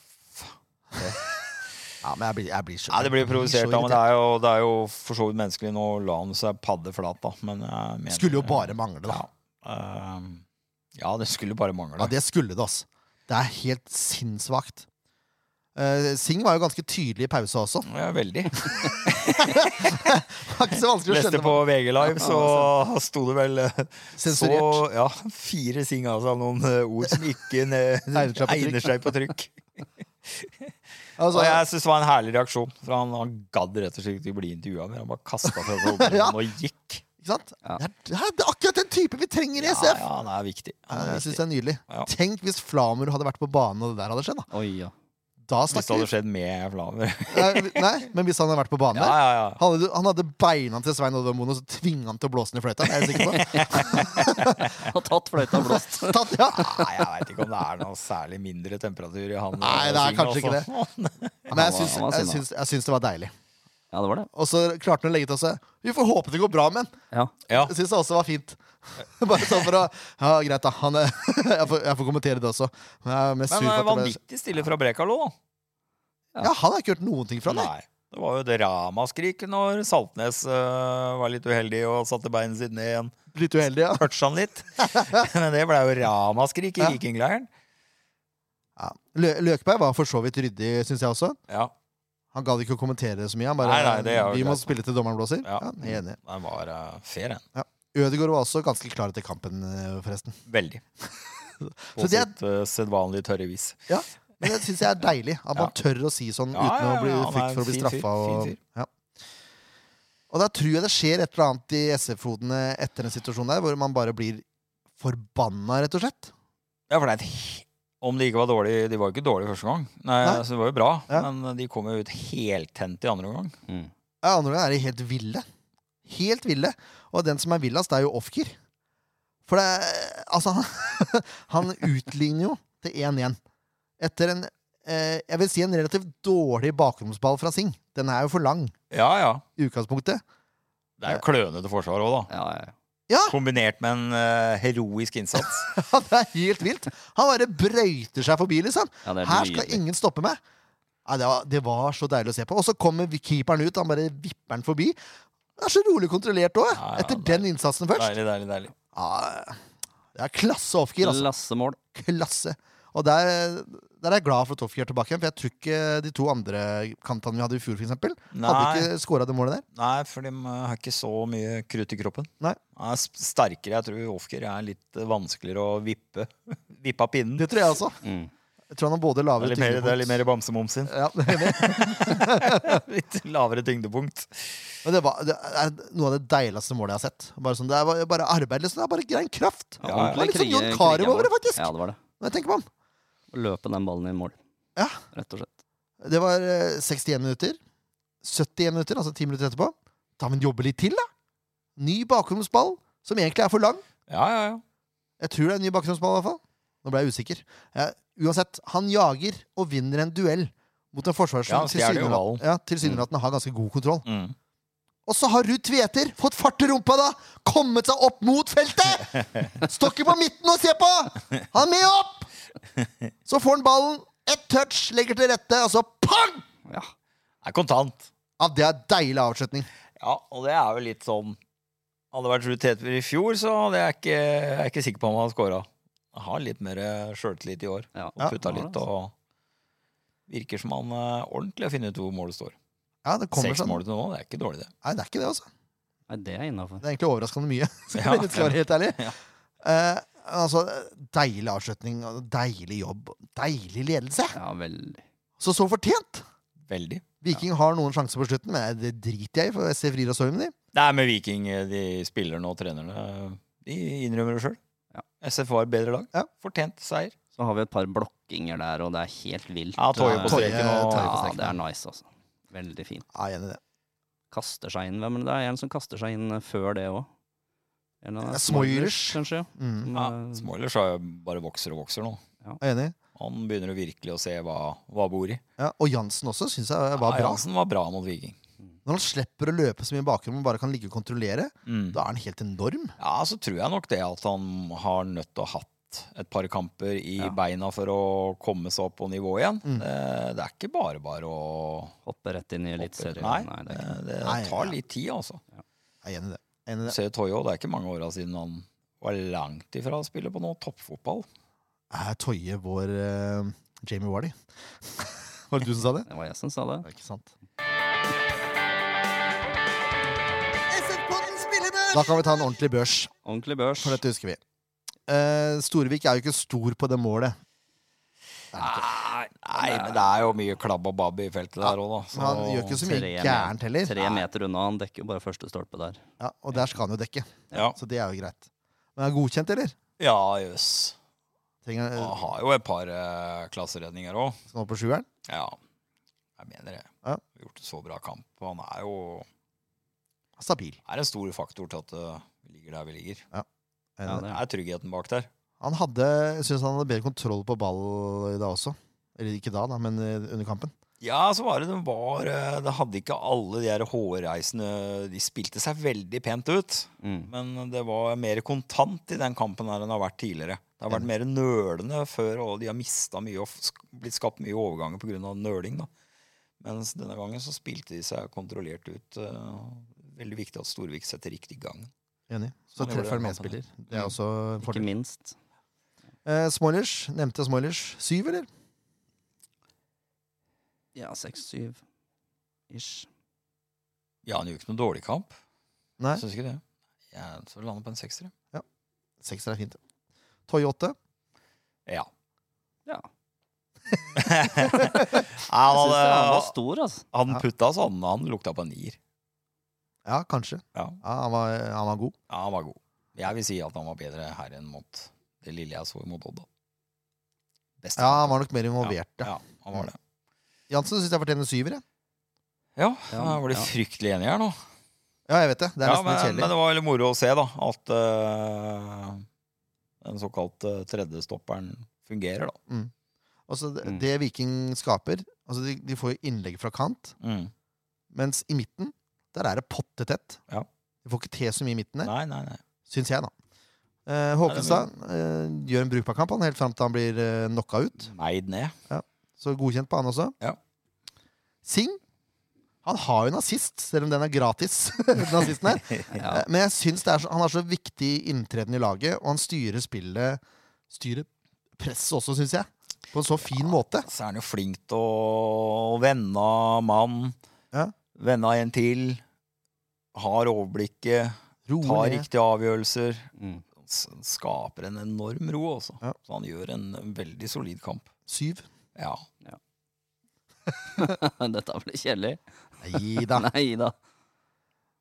Ja, men jeg blir, jeg blir så
Nei, det blir provosert, da, men det
irritert.
er, jo, det er jo for så vidt menneskelig. Nå la han seg padde flat, da. Men jeg mener,
Skulle jo bare mangle, da.
Ja. Ehm, ja, det skulle bare mangle.
Ja, det skulle det, altså. Det er helt sinnssvakt. Eh, Singh var jo ganske tydelig i pausa også. *laughs*
Ja, veldig.
Det var ikke så vanskelig å
Leste
skjønne.
på VG Live, så sto det vel eh,
Sensurert.
Så, ja, fire ting av seg, noen eh, ord som ikke eh,
Egner seg på trykk.
egner seg på trykk.
*laughs* Altså,
Og jeg synes det var en herlig reaksjon, for han, han gadd rett og slett ikke bli intervjua mer. Han bare kasta
*laughs*
seg over hodet
Ja.
og gikk.
ikke sant?
Ja.
Det, er, det er akkurat den type vi trenger i
Ja,
SF!
ja, han er viktig. Han er
Jeg
viktig.
synes det er nydelig.
Ja.
Tenk hvis Flamur hadde vært på banen og det der hadde skjedd. Da,
Oi, ja.
da
Hvis det
snakker
hadde
vi.
skjedd med Flamer.
Eh, Nei, men hvis han hadde vært på banen
Ja,
der
ja, ja.
Han hadde, han hadde beina til Svein Odomono og tvinga han til å blåse ned fløyta. Det er jeg sikker på.
*laughs*
Har tatt fløyta og blåst.
*laughs* Tatt, ja.
Nei, jeg veit ikke om det er noe særlig mindre temperatur i han.
Nei, det er kanskje ikke
det.
Men jeg
var-
syns,
han var
jeg,
sinna.
syns, jeg syns det var deilig.
Ja, det var det.
Og så klarte han å legge til seg Vi får håpe det går bra med han.
Ja.
*laughs*
Ja,
Jeg syns det også var fint. Bare sånn for å Ja, greit, da. Han, er- *laughs* jeg, får, jeg får kommentere det også. Men jeg er mest sur
Men
for
eh,
at det ble...
vanvittig stille fra Brekalo, da.
Ja, han har ikke hørt noen ting fra deg.
Nei. Det var jo et ramaskrik når Saltnes eh, var litt uheldig og satte beinet sitt ned igjen.
Litt uheldig, ja.
Toucha han
*laughs*
litt. Men det ble jo ramaskrik i
Ja.
vikingleiren.
ja. Lø Løkberg var for så vidt ryddig, syns jeg også.
Ja,
Han gadd ikke å kommentere så mye. Han bare
Nei, nei, det er jo
Vi må
greit.
spille til dommeren blåser. Ja.
Ja.
jeg er enig.
den var eh, fair, den.
Ødegaard var også ganske klar etter kampen, eh, forresten. *laughs*
Veldig. På
Så det er-
sitt uh, sedvanlig tørre vis.
Ja, men det syns jeg er deilig. At man tør å si sånn
Ja,
uten
ja, ja,
å bli
han er
frykt for å
en
bli
fin fyr,
straffa.
fin
Og,
fyr.
ja. og da tror jeg det skjer et eller annet i SF-hodene etter den situasjonen der, hvor man bare blir forbanna, rett og slett.
Ja, for det er et he- om de ikke var dårlige De var jo ikke dårlige første gang. Nei,
Nei.
Så det var jo bra,
Ja.
men de kom jo ut heltent i andre omgang.
Mm.
Ja, andre gangen er de helt ville. Helt ville. Og den som er villest, det er jo Ofker. For det er Altså, *laughs* han, han utligner jo til 1-1. Etter en eh, Jeg vil si en relativt dårlig bakromsball fra Singh. Den er jo for lang
Ja, ja.
i utgangspunktet. *laughs*
Det er jo klønete forsvar òg, da.
Ja, ja, ja.
Ja!
Kombinert med en eh, heroisk innsats. *laughs*
Ja, det er helt vilt. Han bare brøyter seg forbi, liksom.
ja det er
Her skal
nydelig.
ingen stoppe meg. Nei, det, var, det var så deilig å se på. Og så kommer vi- keeperen ut. Han bare vipper den forbi. Det er så rolig kontrollert òg,
Ja, ja,
etter
deilig.
den innsatsen først.
Deilig, deilig, deilig.
Ja, det er klasse Ofker, altså.
Lassemål.
Klasse. Og der, der er jeg glad for at Ofker er tilbake igjen, for jeg tror ikke de to andre kantene vi hadde i fjor, for eksempel, hadde
Nei,
ikke scora det målet der.
nei, for de eh, har ikke så mye krutt i kroppen.
Nei.
De er s- sterkere. Jeg tror Ofker er litt eh, vanskeligere å vippe *laughs* Vippe av pinnen.
Det tror jeg også.
Mm.
Jeg tror han har både lavere
Det er litt mer, det er
tyngdepunkt
litt mer bamsemums *laughs* sin.
ja, det er det.
Litt lavere tyngdepunkt.
Men det, var, det er noe av det deiligste målet jeg har sett. Bare sånn, det er bare- bare arbeid, liksom. Det er bare grein kraft.
Ja,
Ja,
det var
ordentlig
litt sånn Jon
krige-
Carew
krigermål.
over det, faktisk.
Ja, det var det.
Når jeg tenker på ham.
Å Løpe den ballen i mål.
Ja.
Rett og slett.
Det var eh, 61 minutter. 71 minutter, altså 10 minutter etterpå. Da må han jobbe litt til, da. Ny bakromsball, som egentlig er for lang.
Ja, ja, ja.
Jeg tror det er en ny bakromsball, i hvert fall. Nå ble jeg usikker. Eh, uansett, han jager og vinner en duell mot en forsvarer
Ja,
som
han stjeler jo ballen.
tilsynelatende ja, tilsynelatende har ganske god kontroll.
Mm.
Og så har Ruud Tveter fått fart i rumpa, da! Kommet seg opp mot feltet!
*laughs*
Står ikke på midten og ser på! Han er med opp! Så får han ballen, ett touch, legger til rette, og så pang!
Ja.
Er kontant.
Ja, det er deilig avslutning.
Ja, og det er jo litt sånn Hadde det vært Ruud Tvedtvedt i fjor, så hadde jeg ikke, jeg er ikke sikker på om han hadde scora. Han har litt mer eh, sjøltillit i år.
ja.
Og putta
Ja,
litt
altså.
og Virker som han eh, ordentlig har funnet ut hvor målet står.
Ja, det kommer
Seks
sånn.
mål til nå, det er ikke dårlig, det.
Nei, det er ikke det, altså.
Nei, det er innafor.
Det er egentlig overraskende mye. *laughs* Skal
Ja.
jeg skal være helt ærlig.
Ja.
Eh, altså, deilig avslutning, og deilig jobb, deilig ledelse.
Ja, veldig.
Så så fortjent!
Veldig.
Viking har noen sjanser på slutten, men det driter jeg i, for jeg ser Frida Sorgen i.
Det er med Viking, eh, de spillerne og trenerne. De innrømmer det sjøl.
Ja.
SF var et bedre lag.
Ja.
Fortjent seier.
Så har vi et par blokkinger der, og det er helt vilt.
Ja, Toje på
Toje-
streken og
Toje på
Ja,
streken.
det er nice, altså. Veldig fint.
Ja, jeg er enig i det.
Kaster seg inn. Hvem er det? det er en som kaster seg inn eh, før det òg.
Ja, Smoilers.
kanskje.
Mm.
Som,
ja,
eh,
Smoilers har jo bare vokser og vokser nå.
Jeg er enig.
Han begynner å virkelig å se hva, hva bor i.
Ja, og Jansen også syns jeg var
Ja,
bra.
Jansen var bra mot Viking.
Når han slipper å løpe så mye bakrom og bare kan ligge og kontrollere, da er han helt enorm.
Ja, så tror jeg nok det at han har nødt til å ha hatt et par kamper i
Ja.
beina for å komme seg opp på nivå igjen.
Mm.
Eh, Det er ikke bare bare å
Hoppe rett inn i Eliteserien.
Nei,
Nei, det er ikke
eh, det
Nei,
tar
ja.
litt tid, altså.
Jeg er enig i det. Jeg er enig i
Du
det.
ser Toyo, det er ikke mange åra siden han var langt ifra å spille på noe toppfotball.
Er Toje vår eh, Jamie Wardy? *laughs* Var det du som sa det?
Det var jeg som sa det.
Det er ikke sant.
SF-podden spillebørs!
Da kan vi ta en ordentlig børs,
Ordentlig børs.
for dette husker vi. Eh, Storvik er jo ikke stor på det målet.
Nei, nei, men det er jo mye klabb og babb i feltet der òg, da.
Men han gjør ikke så mye
Tre me-
gærent heller.
Tre meter unna, han dekker jo bare første stolpe der.
Ja, og der skal han jo dekke,
Ja,
så det er jo greit. Men er han godkjent, eller?
ja jøss.
Trenger
Han
han eh,
har jo et par eh, klasseredninger òg.
sånn opp på sjueren?
Ja, jeg mener det.
Ja.
Har Gjort en så bra kamp. og Han er jo
Stabil.
er en stor faktor til at eh, vi ligger der vi ligger.
Ja,
Eh,
det
Det
er.
er tryggheten bak der.
Han hadde, jeg synes han hadde bedre kontroll på ball da også. Eller ikke da, da, men eh, under kampen.
Ja, så var det den var eh, Det hadde ikke alle de her hårreisene De spilte seg veldig pent ut.
Mm.
Men det var mer kontant i den kampen her enn det har vært tidligere. Det har vært mer nølende før, og de har mista mye og sk- blitt skapt mye overganger pga. nøling. da. Mens denne gangen så spilte de seg kontrollert ut. eh, Veldig viktig at Storvik setter riktig gang.
Enig. Så
Sånn
han gjorde
treffer han
den
medspiller. Det er også en
Mm. Ikke
fordel.
minst.
Eh, Smoilers. Nevnte Smoilers. Syv, eller?
Ja, seks-syv ish.
Ja, han gjorde ikke noen dårlig kamp.
Nei.
Syns ikke det. Jeg så lander på en sekser.
*laughs*
jeg.
Sekser er fint. Toy åtte.
Ja.
Ja.
han,
Jeg syns det han var
hadde,
stor, altså.
han putta så han, han lukta på en nier.
Ja, kanskje.
Ja.
Ja, han, var, han var god.
ja, han var god. Jeg vil si at han var bedre her enn mot det lille jeg så mot Odd. da. Beste
Ja,
kampen.
han var nok mer involvert. Ja.
Ja, han var det.
Jansen syns jeg fortjener syver. Jeg.
Ja,
Ja,
jeg ble
ja.
fryktelig enig her nå.
Ja, jeg vet det. Det er
Ja,
nesten litt
men, men
kjedelig.
det var veldig moro å se da, at eh, den såkalte tredjestopperen fungerer, da.
Altså, det,
Mm.
det Viking skaper altså, de, de får jo innlegg fra kant,
Mm.
mens i midten der er det pottetett.
Ja.
De får ikke til så mye i midten der.
Nei, nei, nei.
Syns jeg, da. Eh, Håkenstad eh, gjør en brukbar kamp han, helt fram til han blir eh, knocka ut.
Meid ned.
Så godkjent på han også.
Mm. Ja.
Singh han har jo en assist, selv om den er gratis. *laughs* den assisten
*laughs*
her.
*laughs* Ja.
Eh, Men jeg syns det er så, han har så viktig inntreden i laget, og han styrer spillet Styrer presset også, syns jeg. På en så fin måte.
Så er han jo flink til å vende av mann.
Ja.
Vende av en til. Har overblikket.
Rolig.
Tar riktige avgjørelser.
Mm. *laughs*
Han s- skaper en enorm ro, altså.
Ja.
Så han gjør en veldig solid kamp.
Syv.
Ja.
Dette blir kjedelig.
Nei da.
Nei da.
Det er
*laughs*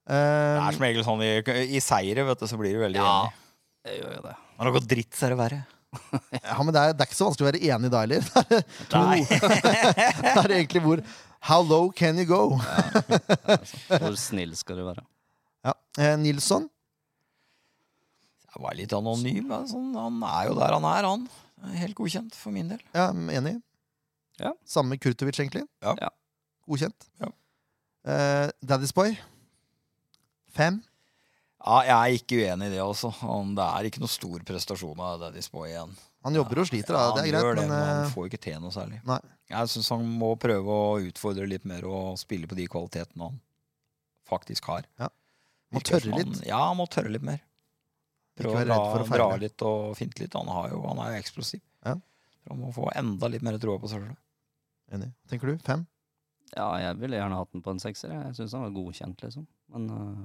Eh,
som regel sånn i, i seire, vet du, så blir du veldig
Ja.
enig.
Jeg gjør jo det.
Når det går dritt, så er det verre.
ja, men det er, det er ikke så vanskelig å være enig da heller. Det er- *laughs* det er egentlig hvor How low can you go?
*laughs* Hvor snill skal du være?
Ja. Eh, Nilsson
Jeg var litt anonym. men Sånn, han er jo der han er, han. Helt godkjent for min del.
Ja, jeg er enig.
Ja.
Samme med Kurtovic, egentlig.
Ja.
Ja.
Godkjent.
Ja.
Eh, Daddy's Boy. Fem.
Ja, jeg er ikke uenig i det, altså. Han, det er ikke noe stor prestasjon av Daddy's Boy igjen.
Han jobber og sliter, da.
Ja,
det
han
er greit,
gjør det,
men,
men
eh,
han får jo ikke til noe særlig.
Nei.
Jeg syns han må prøve å utfordre litt mer og spille på de kvalitetene han faktisk har.
må
Virker
tørre
som han-
litt.
Ja, han må tørre litt mer.
Ikke
Prøve å
være
dra,
redd for å
dra
feile.
litt og finte litt. Han, har jo, han er jo eksplosiv.
Ja.
Så Han må få enda litt mer troa på seg sjøl.
Enig. Tenker du? Fem?
Ja, jeg ville gjerne hatt den på en sekser. jeg. Jeg syns han var godkjent, liksom. Men øh,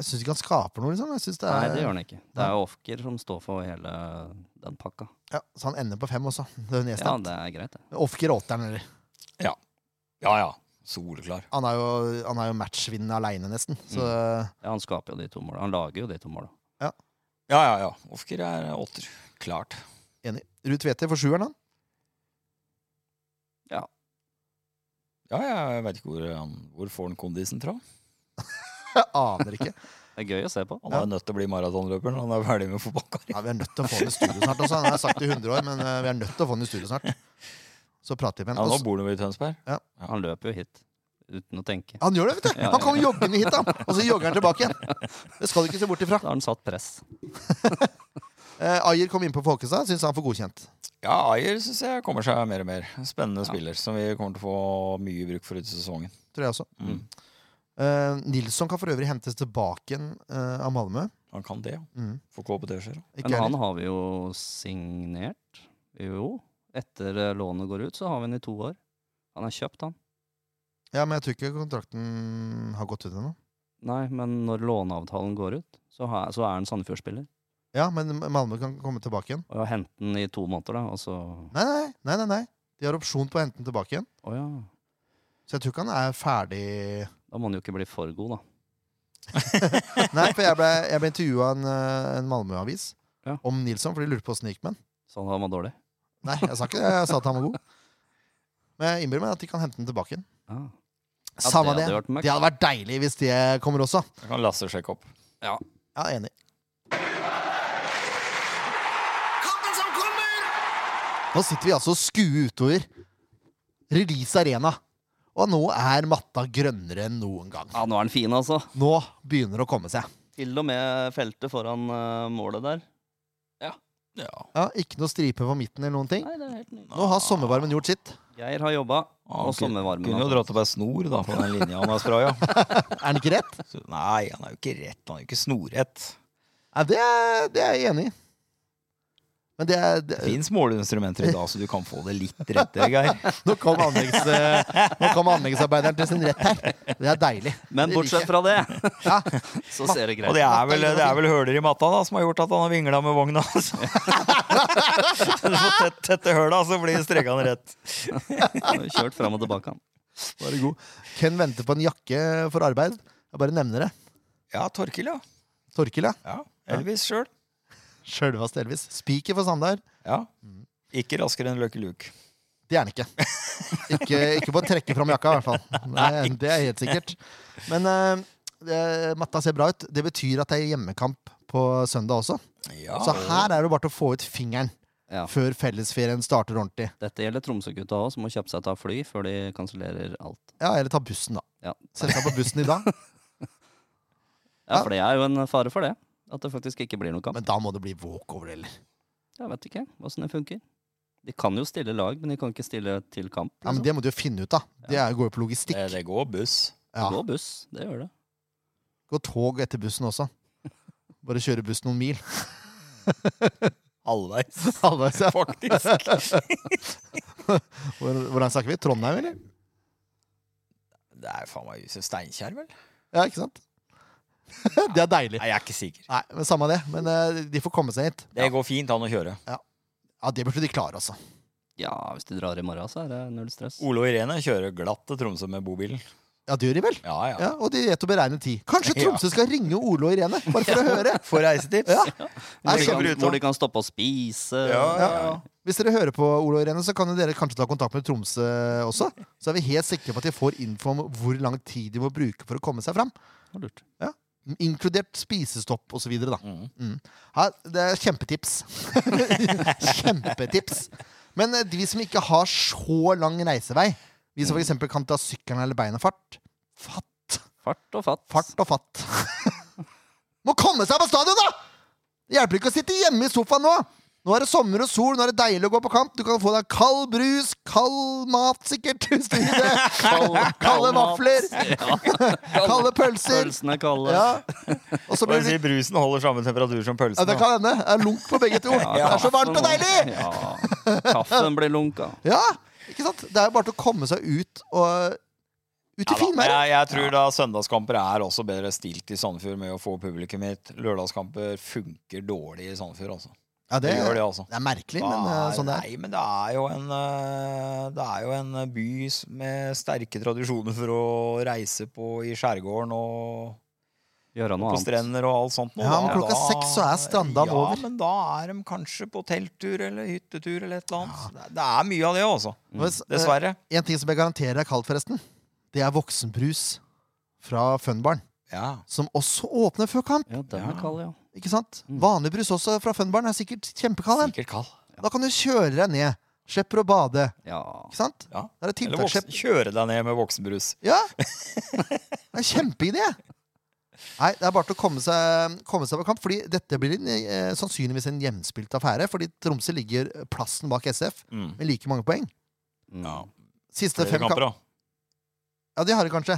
Jeg syns ikke han skaper noe, liksom. Jeg synes det er,
nei, det gjør han ikke. Det er jo Ofker som står for hele den pakka.
Ja, så han ender på fem også. Det er
Ja,
nedstemt.
det er greit, det.
Ofker återen, eller.
Ja ja. Soleklar.
Han er jo, han er jo matchvinnende aleine, nesten. Så
Ja, han skaper jo de to måla. Han lager jo de to måla.
Ja ja ja. Ofker er åtter. Klart.
enig. Ruud Tvedte for sjueren, han.
Ja, jeg veit ikke hvor, han, hvor får han kondisen fra.
Jeg aner ikke.
Det er gøy å se på.
Han er jo nødt til å bli maratonløper når han er ferdig med fotballkarrieren.
Ja, vi er nødt til å få han i studio snart også. Han har sagt det i 100 år, men eh, vi er nødt til å få han i studio snart. Så prater vi med
Ja, nå
han.
bor han jo i Tønsberg.
Han løper jo hit uten å tenke.
Han gjør det, vet du!
Ja,
Han kommer joggende hit, da, og så jogger han tilbake igjen. Det skal du ikke se bort ifra.
Da har han satt press.
Eh, Ayer kom inn på Folkestad, syns han får godkjent.
Ja, Ayer syns jeg kommer seg mer og mer. Spennende spiller som vi kommer til å få mye bruk for ut i sesongen.
Tror jeg også.
Mm.
Eh, Nilsson kan for øvrig hentes tilbake igjen eh, av Malmö.
Han kan det, ja.
Mm.
Får ikke håpe det skjer. da.
Ikke
Men han
heller.
har vi jo signert. Jo. Etter eh, lånet går ut, så har vi han i to år. Han er kjøpt, han.
Ja, men jeg tror ikke kontrakten har gått ut ennå.
Nei, men når låneavtalen går ut, så, har, så er han Sandefjord-spiller.
Ja, men Malmö kan komme tilbake igjen.
Og jeg har hentet den i to måneder, da, og så
Nei, nei, nei, nei, nei. De har opsjon på å hente den tilbake igjen.
Å ja.
Så jeg tror ikke han er
*laughs*
ferdig
Da må han jo ikke bli for god, da.
Nei, for jeg ble, jeg ble intervjua av en, eh, en Malmö-avis
Ja.
om Nilsson, for de lurte på åssen det gikk med han.
Så han var dårlig.
Nei, jeg sa ikke det. Jeg sa at han var god. Men jeg innbiller meg at de kan hente den tilbake igjen.
Ja. Ja,
Samme
det
det.
hadde vært mørkt.
Det hadde vært deilig hvis det kommer også.
Da kan Lasse sjekke opp.
Ja, enig.
Kampen som kommer!
Nå sitter vi altså og skuer utover Release Arena. Og nå er matta grønnere enn noen gang.
Ja, nå er han fin, altså.
Nå begynner det å komme seg.
Til og med feltet foran eh, målet der.
Ja.
Ja, Ikke noe stripe på midten eller noen ting.
Nei, det er helt nydelig.
Nå har sommervarmen gjort sitt.
Geir har jobba,
Ah,
og
ok.
sommervarmen
Kunne jo
har-
dratt opp ei snor da, på den linja han har spraya. *laughs*
Er den ikke rett?
Så- Nei, han er jo ikke rett. Han er jo ikke snorrett.
Nei, det, er, det er jeg enig i. Men det er det,
Det fins måleinstrumenter i dag, så du kan få det litt rettere, Geir.
Nå kom, anleggs, nå kom anleggsarbeideren til sin rett her. Det er deilig.
Men
Det
bortsett
liker
fra det,
jeg. ja,
så ser det *laughs*
Og
greit
det
ut.
er vel, det er vel høler i matta da, som har gjort at han har vingla med vogna. *laughs* altså. Så du får tett- tette høla, så blir strekene rett.
Kjørt fram og tilbake, han.
Bare god. Ken venter på en jakke for arbeid. Jeg bare nevner det.
Ja, Torkil, ja.
Torkil, ja.
ja Elvis sjøl.
Sjølveste Elvis. Spiker for Sandar.
Ja. Mm. Ikke raskere enn Lucky Luke.
Det er han ikke. ikke. Ikke på å trekke fram jakka, i hvert fall. Nei, det er helt sikkert. Men eh, det- matta ser bra ut. Det betyr at det er hjemmekamp på søndag også.
Ja,
Så her er det bare til å få ut fingeren
Ja.
før fellesferien starter ordentlig.
Dette gjelder Tromsø-gutta òg, som må kjappe seg til å ta fly før de kansellerer alt.
Ja, eller ta bussen, da.
Ja.
Sette seg på bussen i dag.
Ja, for det er jo en fare for det. At det faktisk ikke blir noen kamp.
Men da må det bli walkover, eller?
Jeg vet ikke åssen det funker. De kan jo stille lag, men de kan ikke stille til kamp.
Ja, men
Liksom.
det må du jo finne ut, da. Det er- går jo på logistikk.
Eh, det, det går buss.
Ja.
Gå buss, det gjør det.
Gå tog etter bussen også. Bare kjøre buss noen mil.
*laughs* Halvveis,
Halvveis, ja.
*laughs* faktisk.
Hvor- Hvordan snakker vi? Trondheim, eller?
*laughs* Det er faen meg huset Steinkjer, vel?
Ja, ikke sant? *laughs* Det er deilig.
Nei, jeg er ikke sikker.
Nei, men Samme det, men eh, de får komme seg hit.
Det går fint an å kjøre.
Ja, Det burde de klare, altså.
Ja, hvis de drar i morgen, så er det null stress.
Oh,
Ole og Irene kjører glatt til Tromsø med bobilen.
Ja, det gjør de vel?
Ja, ja.
Ja, Og de vet å beregne tid. Kanskje
*laughs* Ja.
Tromsø skal ringe Ole og Irene, bare for å høre?
For reisetips.
Ja.
Hvor
Nei,
de,
så
kan,
brutal.
hvor de kan stoppe og spise.
Ja, ja, ja.
Hvis dere hører på Ole og Irene, så kan jo dere kanskje ta kontakt med Tromsø også. Så er vi helt sikre på at de får info om hvor lang tid de må bruke for å komme seg fram.
Det var Lurt.
Inkludert spisestopp osv.
Mm.
Mm. Her, det er kjempetips. *laughs* kjempetips. Men eh, de som ikke har så lang reisevei, vi som f.eks. kan ta sykkelen eller beinefart Fatt!
Fart og fatt.
Fart og fatt. *laughs* Må komme seg på stadion, da! Det hjelper ikke å sitte hjemme i sofaen nå. Nå er det sommer og sol, nå er det deilig å gå på kamp. Du kan få deg kald brus, kald mat, sikkert. hvis du vil det.
*laughs*
Kalde vafler, kalde pølser.
Pølsene er kalde.
Ja. Og så
Bare
blir det
si brusen holder samme temperatur som pølsen.
ja, Det kan hende. Det er lunk på begge
*laughs*
to. Det er så varmt og deilig!
Ja. Kaffen blir lunka.
Ja, ikke sant? Det er jo bare til å komme seg ut og Ut i
Ja, da.
finværet.
jeg, jeg tror da søndagskamper er også bedre stilt i Sandefjord med å få publikum hit. Lørdagskamper funker dårlig i Sandefjord, altså.
Ja,
Det gjør det, altså.
Det er merkelig, men
Da
eh, sånn det er.
Nei, men det er jo en eh, Det er jo en by s- med sterke tradisjoner for å reise på i skjærgården og
Gjøre noe
på
annet.
strender og alt sånt. nå.
Ja, men
Da-
klokka
da-
seks så er Strandam
ja,
over.
men da er de kanskje på telttur eller hyttetur eller et eller annet. Det, det er mye av det, altså.
Hvis, eh,
Dessverre.
En ting som jeg garanterer er kaldt, forresten, det er voksenbrus fra Funbarn.
Ja.
Som også åpner før kamp.
Ja, den er kald, ja.
ikke sant? Vanlig brus også fra Funbarn er sikkert kjempekald. den.
Mm. Sikkert kald.
Da kan du kjøre deg ned. Slipper å bade.
ja.
Ikke sant?
Ja.
Da er det
Eller voksen,
tiltaksslipp.
kjøre deg ned med voksenbrus.
Ja! Det er en kjempeidé! Nei, det er bare til å komme seg, komme seg på kamp. Fordi dette blir en, eh, sannsynligvis en jevnspilt affære. Fordi Tromsø ligger plassen bak SF
Mm.
med like mange poeng.
Mm.
Ja.
Siste
Flere
fem kamper
kamper, da.
Ja, de har det kanskje.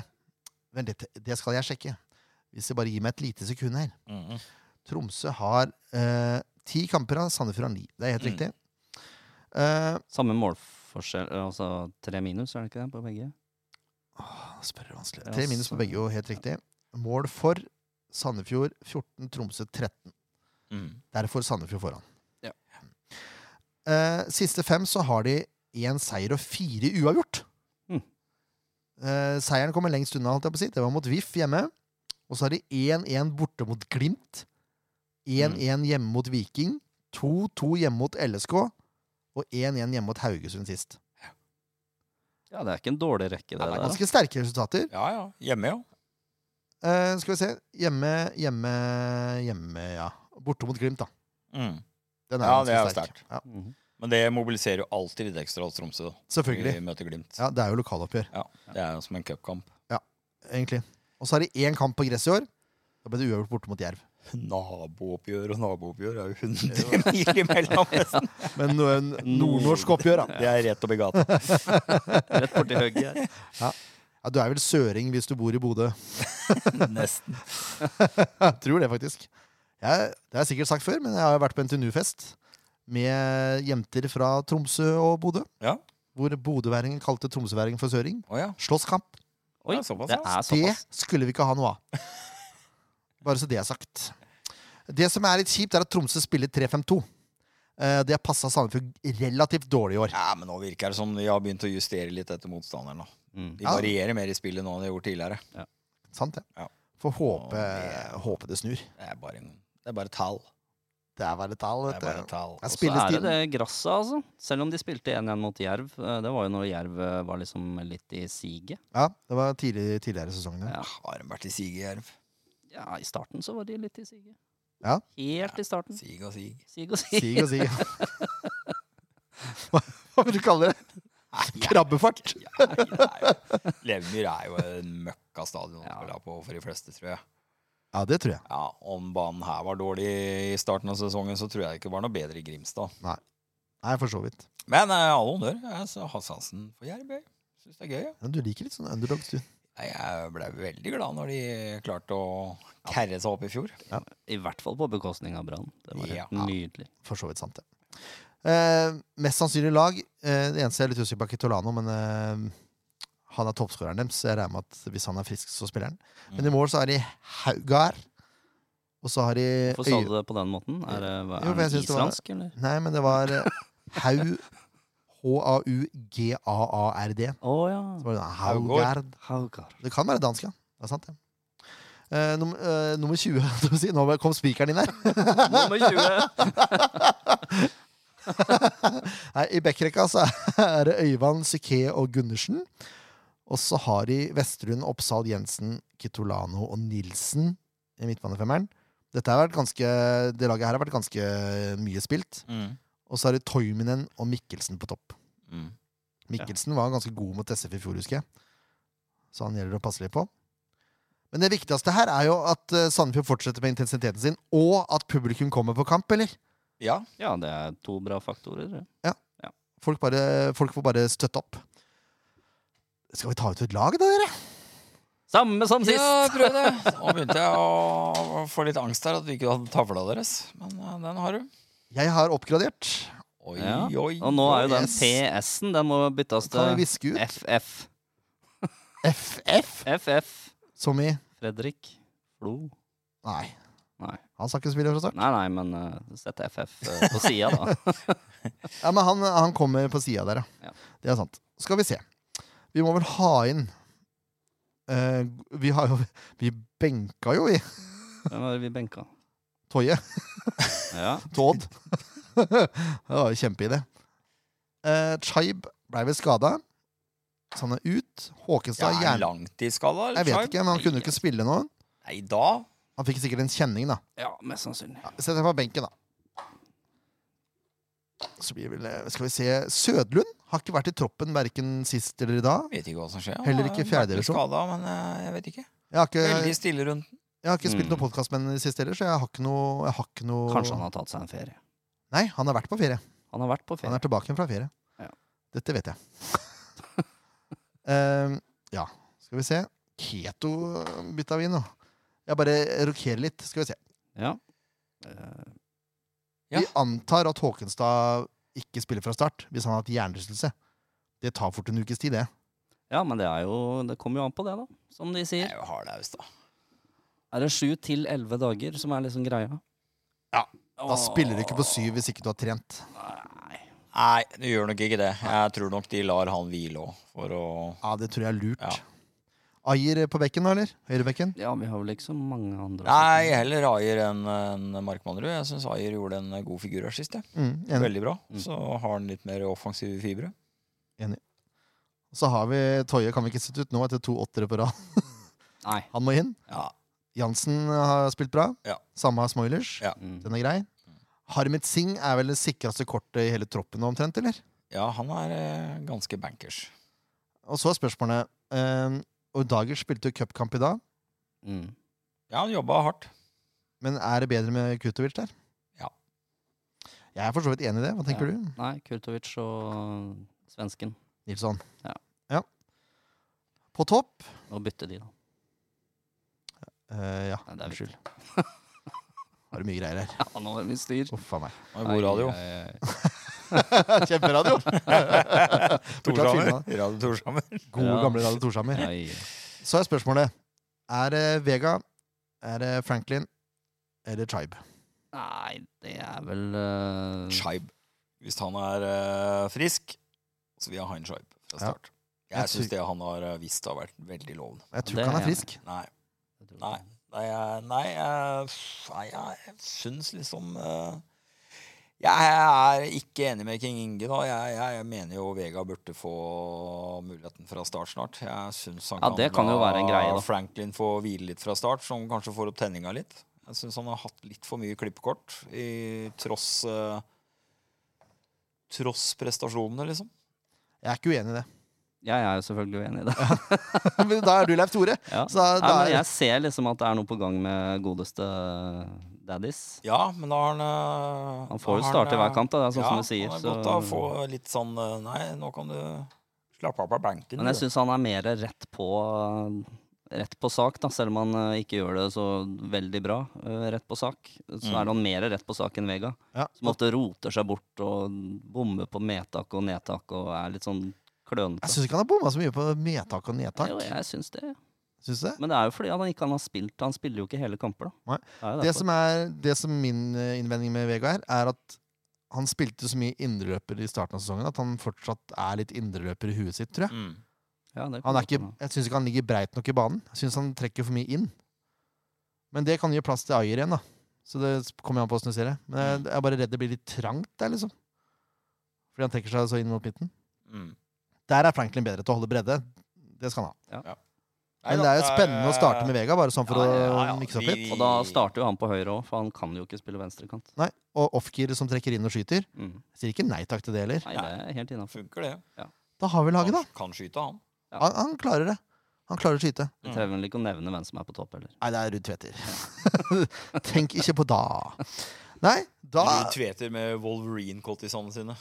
Vent litt, det skal jeg sjekke. Hvis jeg bare gir meg et lite sekund her.
Mhm.
Tromsø har eh, ti kamper, og Sandefjord har ni. Det er helt
Mm.
riktig. Eh,
Samme målforskjell forskjell Altså tre minus, er det ikke det, på begge?
Åh, Spør det vanskelig.
Ja,
Tre minus på
så-
begge, jo, helt riktig. Mål for Sandefjord 14, Tromsø 13.
Mm.
Derfor Sandefjord foran. Mm.
Ja.
Eh, siste fem så har de én seier og fire uavgjort.
Mm.
Eh, seieren kommer lengst unna, holdt jeg på å si. Det var mot VIF hjemme. Og så har de 1-1 borte mot Glimt. 1-1
Mm.
hjemme mot Viking. 2-2 hjemme mot LSK. Og 1-1 hjemme mot Haugesund sist.
Ja, det er ikke en dårlig rekke, det
Nei,
der.
Ganske sterke resultater.
Ja, ja. Hjemme, ja.
Eh, skal vi se. Hjemme, hjemme, hjemme, ja. Borte mot Glimt, da.
Mm.
Den
Ja,
ganske
det er jo
sterk.
sterkt.
Ja,
Mhm.
Men det mobiliserer jo alltid litt ekstra hos Tromsø. da.
selvfølgelig.
Vi møter Glimt.
Ja, det er jo lokaloppgjør.
Det er jo som en cupkamp.
egentlig. Og så har de én kamp på gress i år. Da ble det uavgjort borte mot Jerv.
Nabooppgjør og nabooppgjør er jo *laughs* 100 mil imellom, nesten.
Men no- en *laughs* nordnorsk oppgjør, da.
Det er rett oppi gata.
Rett borti *laughs* høgget her.
Ja, du er vel søring hvis du bor i Bodø. *laughs*
Nesten.
Jeg tror det, faktisk. Jeg, det har jeg sikkert sagt før, men jeg har vært på NTNU-fest med jenter fra Tromsø og Bodø.
Ja.
Hvor bodøværingen kalte tromsøværingen for søring.
Å ja.
Slåsskamp.
Oi,
Ja, såpass,
det
ja.
er
Det
såpass.
skulle vi ikke ha noe av. Bare så det er sagt. Det som er litt kjipt, er at Tromsø spiller 3-5-2. Eh, Det har passa Sandefjord relativt dårlig i år.
ja, men nå virker det som de har begynt å justere litt etter motstanderen. da.
Mm.
De
Ja.
varierer mer i spillet nå enn de har gjort tidligere.
Sant, det.
Ja.
Får håpe,
Åh,
håpe det snur.
Det er bare, en, det er bare tall.
Det er bare tall,
Det
vet
er bare
du.
tall.
Det er
Og så er det
spillestilen.
det gresset, altså. Selv om de spilte 1-1 mot Jerv. eh, Det var jo når Jerv eh, var liksom litt i siget.
Ja, det var tidlig, tidligere i sesongen. Ja.
Ja.
Ah, Har de vært i sig i Jerv?
ja, i starten så var de litt i siget.
Ja.
Helt i starten.
Sig og sig.
Sig og sig.
Sig og sig. Hva, hva vil du kalle det? Krabbefart?
Ja, det er jo- Levmyr er jo en møkka stadion å
Ja.
spille på for de fleste, tror jeg.
Ja, det tror jeg.
Ja, Om banen her var dårlig i starten av sesongen, så tror jeg ikke det var noe bedre i Grimstad.
Nei, for så vidt.
Men eh, alle honnør. Jeg så har sansen for Jerv. jeg. Syns det er gøy. jeg.
Men du liker litt sånn underdogs, du.
Nei, Jeg ble veldig glad når de klarte å kerre seg opp i fjor.
*laughs* I hvert fall på bekostning av Brann. Det var helt
Ja.
nydelig.
For så vidt sant, det. Eh, mest sannsynlig lag. Eh, det eneste jeg er litt usikker på, er Kitolano, men eh, han er toppskåreren deres. så Jeg regner med at hvis han er frisk, så spiller han. Men i mål så har de Haugar, og så har de
Hvorfor sa
Øy-
du det på den måten? Er det, hva-
Jo, for
er
jeg
det
synes det var-
islandsk, eller?
Nei, men det var eh, Hau H-A-U-G-A-A-R-D.
Å ja.
Så var det da,
Haugård.
Haugard.
Haugar.
Det kan være dansk, ja. Det er sant, det. Eh, num eh, nummer 20. *laughs* holdt jeg på å si. Nå kom spikeren inn her. *laughs*
Nummer 20.
Nei, I backrekka så er det Øyvand, Syke og Gundersen. Og så har de Vesterlund, Oppsal, Jensen, Kitolano og Nilsen i midtbanefemmeren. Dette har vært ganske, Det laget her har vært ganske mye spilt.
Mm.
Og så har de Toiminen og Mikkelsen på topp.
Mm.
Mikkelsen var ganske god mot SF i fjor, husker jeg. Så han gjelder å passe litt på. Men det viktigste her er jo at eh, Sandefjord fortsetter med intensiteten sin, og at publikum kommer på kamp, eller?
Ja.
*laughs* Ja, det er to bra faktorer. det.
Folk, bare, folk får bare støtte opp. Skal vi ta ut et lag, da, dere?
Samme som sist!
ja, prøv det. Nå begynte jeg å få litt angst her at vi ikke hadde tavla deres. Men eh, den har du.
Jeg har oppgradert.
Oi,
Ja.
oi,
Og nå er jo den
Yes.
PS-en, den må byttes
Kan vi
til
viske ut
FF.
FF?
FF.
Som i
Fredrik Flo.
Nei.
Nei.
Han skal ikke spille fra start.
Nei, nei, men uh, sett FF eh, på sida,
*laughs*
da.
Ja, Men han, han kommer på sida der,
Ja.
ja. Det er sant. Skal vi se. Vi må vel ha inn eh, Vi har jo Vi benka jo i
Hvem var det vi benka?
Toje.
Ja.
*laughs* Todd. det var jo kjempeidé. Uh, Chaib blei vel skada. Så han er ut.
Ja,
Håkenstad
er
ja,
han langtidsskada?
Jeg vet ikke, men han kunne jo ikke spille nå.
Nei, da
Han fikk sikkert en kjenning, da.
ja, mest sannsynlig.
Ja, Sett deg på benken, da. Så blir vel, eh, skal vi se Sødlund har ikke vært i troppen verken sist eller i dag.
vet ikke hva som skjer.
Heller ikke fjerdedivisjon.
Skada, men eh, jeg vet ikke.
Jeg har ikke,
Veldig stille rundt.
jeg har ikke spilt noen
Mm.
podkast med ham sist heller, så jeg har ikke noe, jeg har ikke noe
Kanskje han har tatt seg en ferie.
Nei, han har vært på ferie.
Han har vært på
Han
ferie.
er tilbake igjen fra ferie.
Ja.
Dette vet jeg.
*laughs*
Ehm, ja, skal vi se. Keto bytta vi inn nå. Jeg bare rokerer litt. Skal vi se.
Ja. Eh,
Ja.
Vi antar at Håkenstad ikke spiller fra start hvis han har hatt hjernerystelse. Det tar fort en ukes tid, det.
Ja, men det er jo Det kommer jo an på det, da. Som de
Det
sier.
er jo hardlaus, da.
Er det sju til elleve dager som er liksom greia?
Ja, Da spiller du ikke på syv hvis ikke du har trent.
Nei.
Nei, du gjør nok ikke det. Jeg tror nok de lar han hvile òg, for å
Ja, Det tror jeg er lurt.
Ja.
Ajer på bekken, da, eller? Høyrebekken?
Ja, vi har vel ikke så mange andre.
Nei, heller Ajer enn enn Markmannrud. Jeg syns Ajer gjorde en god figur her sist. jeg.
Mm, enig.
Veldig bra. Så har han litt mer offensive fibre.
Så har vi Toje, kan vi ikke sitte ut nå etter to åttere på rad.
Nei.
Han må inn.
Ja.
Jansen har spilt bra.
Ja.
Samme har Smoilers.
Ja.
Mm.
Den er grei. Harmet Singh er vel det sikreste kortet i hele troppen nå, omtrent, eller?
ja, han er eh, ganske bankers.
Og så er spørsmålet eh, Og Dager spilte jo cupkamp i dag,
Mm.
Ja, han jobba hardt.
men er det bedre med Kutovic der?
Ja.
Jeg er for så vidt enig i det. Hva tenker du,
Nei, Kurtovic og svensken.
Nilsson?
Ja.
ja. På topp
Nå bytter de, da.
eh, Ja,
Nei, det er *laughs*
unnskyld. Har du mye greier her?
Ja, nå er vi styr.
Uff a meg. *laughs*
Han er God radio.
Ai, ai, ai. *laughs*
Kjemperadio! Fortsatt
Torshammer.
filma.
*laughs* Radio Torshammer.
Gode,
Ja.
gamle Radio Torshammer.
Ai.
Så er spørsmålet Er det Vega, er det Franklin eller Tribe?
Nei, det er vel
Mm.
eh,
Scheib. Hvis han er eh, frisk, så vil jeg ha en Scheib fra
Ja.
start.
Jeg
Jeg syns
tror-
det han har eh, visst har vært veldig lovende.
Jeg tror
Det
ikke han
er
er
jeg
frisk.
Nei.
jeg tror
Nei,
det.
nei, jeg- nei, jeg- nei jeg syns liksom eh, Jeg er ikke enig med King Inge, da. Jeg, jeg, jeg mener jo Vega burde få muligheten fra start snart. Jeg syns han
Ja, det kan jo være en greie, da.
Franklin få hvile litt fra start, som kanskje får opp tenninga litt. Jeg syns han har hatt litt for mye klippekort, i tross eh, Tross prestasjonene, liksom.
Jeg er ikke uenig i det.
Jeg er jo selvfølgelig uenig
*laughs*
i det.
*laughs* Men da er du Leif Tore.
Ja.
Så da,
Nei,
da
men
er,
jeg ser liksom at det er noe på gang med godeste daddies.
Ja, men da har han eh,
Han
da
får jo
har
starte
eh,
hver kamp, da, det er sånn som du sier.
han er
så-
godt å få litt sånn eh, Nei, nå kan du slappe av på benken.
Men jeg
du.
syns han er mer rett på Rett på sak, da, selv om han eh, ikke gjør det så veldig bra. eh, Rett på sak. Så
Mm.
er han mer rett på sak enn Vega.
ja.
Som ofte roter seg bort og bommer på medtak og nedtak og er litt sånn klønete.
jeg syns ikke han har bomma så mye på medtak og nedtak.
Jo, jeg syns det.
Syns du det?
Men det er jo fordi han ikke han har spilt. Han spiller jo ikke hele kamper, da.
Nei. Det som, er, det som min eh, innvending med Vega er, er at han spilte så mye indreløper i starten av sesongen at han fortsatt er litt indreløper i huet sitt, tror jeg.
Mm.
ja, det kan
Han er
godt
ikke,
hende.
jeg syns ikke han ligger breit nok i banen. Jeg syns han trekker for mye inn. Men det kan gi plass til Ayer igjen, da. Så det kommer jo an på åssen du ser det. Men jeg, jeg er bare redd det blir litt trangt der, liksom. Fordi han trekker seg så inn mot midten.
Mm.
Der er Franklin bedre til å holde bredde. Det skal han ha.
Nei,
Men
da, eh,
det er jo spennende å starte med Vega, bare sånn for
Ja, ja, ja,
å mikse opp
vi-
litt.
Og da starter jo han på høyre òg, for han kan jo ikke spille venstrekant.
Og Ofkir som trekker inn og skyter.
Mm.
Jeg sier ikke nei takk til det heller.
Nei, det er helt innafor.
Funker det.
Da har vi laget, da.
Han kan skyte, han.
Ja.
Han, han klarer det. Han klarer å skyte.
Vi trenger vel ikke å nevne hvem som er på topp, heller. *laughs*
Nei, det er Ruud Tveter. *laughs* Tenk ikke på da. Nei, da
Eller Tveter med Wolverine-kottisene sine.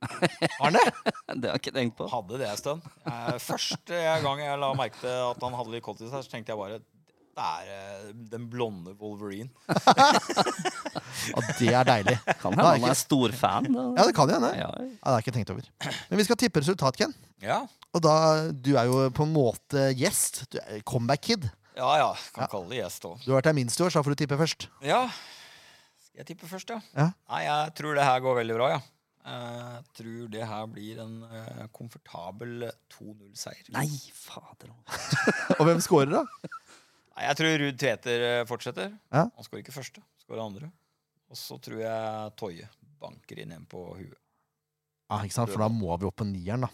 Arne!
Det har jeg ikke tenkt på.
Hadde det en stund. Eh, Første gang jeg la merke til at han hadde litt kottis her, så tenkte jeg bare det er eh, den blonde Wolverine.
Ja, det er deilig. Da
Kan hende
er
han
ikke-
er stor fan. da.
*laughs* Ja, det kan jo hende. Ja,
Ja,
det har jeg ikke tenkt over. Men vi skal tippe resultat, Ken.
Ja,
Og da, du er jo på en måte gjest. Du er comeback-kid.
ja. ja. Kan kalle det gjest òg.
Du har vært her minst i år, så da får du tippe først.
Ja. Skal jeg tippe først, ja?
Ja.
Nei, jeg tror det her går veldig bra, ja. Jeg tror det her blir en eh, komfortabel eh, 2-0-seier.
Nei, fader altså. òg.
Og hvem scorer, da?
Nei, Jeg tror Ruud Tveter eh, fortsetter.
Ja.
Han skårer ikke første, han skårer andre. Og så tror jeg Toje banker inn en på huet.
Ja, ikke sant? For da må vi opp på nieren, da.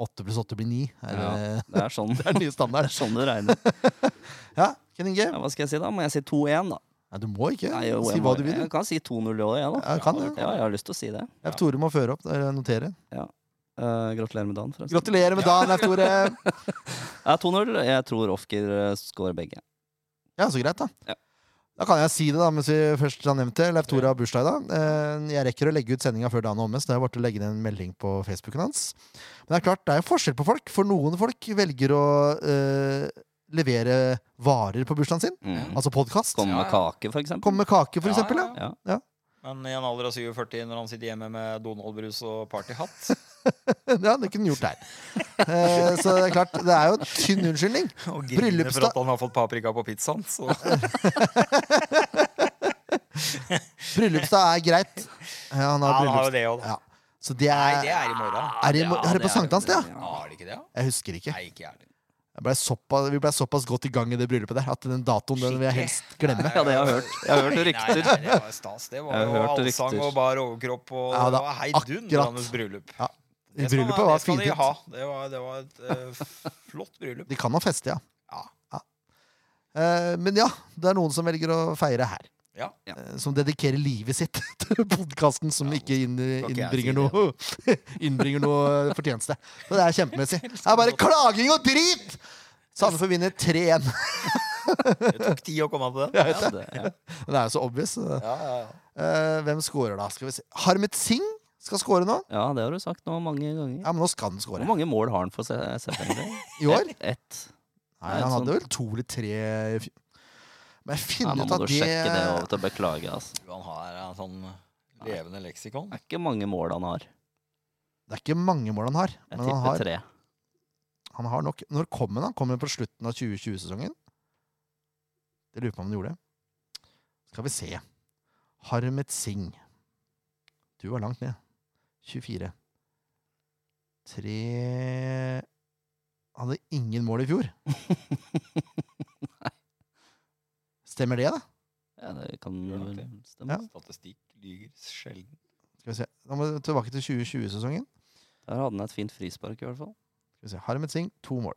Åtte pluss åtte blir ni. Er det,
Det er sånn,
*laughs* det er den nye
det er
standarden.
sånn du regner.
*laughs* Ja, Ken Inge?
Ja, hva skal jeg si, da? Må jeg si 2-1, da?
Nei, du må ikke
Nei, jo,
si
jeg
hva
må-
du vil.
Jeg kan si 2-0 òg, jeg, da.
Ja, du kan det.
Ja, jeg har lyst til å si det.
Leif Tore må føre opp. eller Notere.
Eh, gratulerer med dagen, forresten.
Gratulerer med dagen, Leif Tore!
Ja, 2-0. Jeg tror Ofker eh, scorer begge.
Ja, så greit, da.
Ja.
Da kan jeg si det, da, mens vi først har nevnt det. Leif Tore har bursdag i dag. Eh, Jeg rekker å legge ut sendinga før dagen er omme, så da har jeg bare å legge ned en melding på Facebooken hans. Men det er klart, det er jo forskjell på folk. For noen folk velger å eh, levere varer på bursdagen sin.
Mm.
Altså podkast.
Komme med
Ja, ja.
kake, for eksempel.
Komme med kake, for
Ja,
eksempel. Ja.
ja,
Ja.
Men i en alder av 47, når han sitter hjemme med Donald-brus og
*laughs*
partyhatt
Det hadde ikke han gjort der. Eh, så det er klart, det er jo en tynn unnskyldning.
og griner for
Bryllupsdag-
at han har fått paprika på pizzaen, så
Bryllupsdag er greit. Ja, han
Ja,
har
*laughs* han har jo
bryllups...
det òg, da.
Ja. Så det
Nei,
er
det er i morgen.
Er det, i mo-
Ja,
er det på
er-
sankthans, det? ja?
ja.
Har de ikke det? da?
Jeg husker ikke.
Nei, ikke jeg heller.
Jeg ble såpass, vi ble såpass godt i gang i det bryllupet der at den datoen den vil jeg helst glemme.
Ja, det har jeg hørt. Jeg har hørt *laughs*
Nei,
rykter.
Nei, nei, det var stas. Det var
Jeg har
jo
hørt
allsang
rykter.
og bar overkropp, og
Ja,
det
det
var
er
heidundrende bryllup.
Ja,
Det skal man-
Bryllupet var
det skal de
fint.
ha. Det var, det var et eh, flott bryllup.
De kan ha feste, ja.
Ja.
Eh, Men ja, det er noen som velger å feire her.
Ja.
Ja.
Eh, Som dedikerer livet sitt *laughs* til podkasten, som
Ja,
ikke inn,
skal ikke jeg
innbringer,
si
noe, *laughs* innbringer noe eh, fortjeneste. Så det er
*laughs*
kjempemessig. Det er
sånn
bare klaging og drit! Sandefjord vinner 3-1.
Det tok tid å komme
*laughs*
til den.
Ja, det, ja.
*laughs* Det er jo så obvious. Eh,
Ja, ja, ja.
Hvem scorer da? Skal vi se. Harmet Singh skal score nå.
ja, det har du sagt nå mange ganger.
Ja, men nå skal han score.
Hvor mange mål har han for se- sett egentlig?
I år?
Ett.
Nei, han hadde vel to eller tre i fj- Men jeg
Ja,
finner
nå
ut
må
at
du
det,
sjekke det og til å beklage. Altså.
Han har en sånn levende leksikon.
Det er ikke mange mål han har.
det er ikke mange mål han har.
Jeg
Men han
tipper
har,
tre.
han har nok Når kom han? da? Kom han på slutten av 2020-sesongen? Det lurer på om han gjorde. Skal vi se. Harmet Singh. Du var langt ned. 24. Tre Hadde ingen mål i
*laughs*
fjor. Stemmer det, da?
Ja, det kan
Gjør nok
vel
det.
stemme.
Statistikk lyger sjelden.
Skal vi se. Da må vi tilbake til 2020-sesongen.
Der hadde han et fint frispark, i hvert fall.
Skal vi se. Harmet Singh, to mål.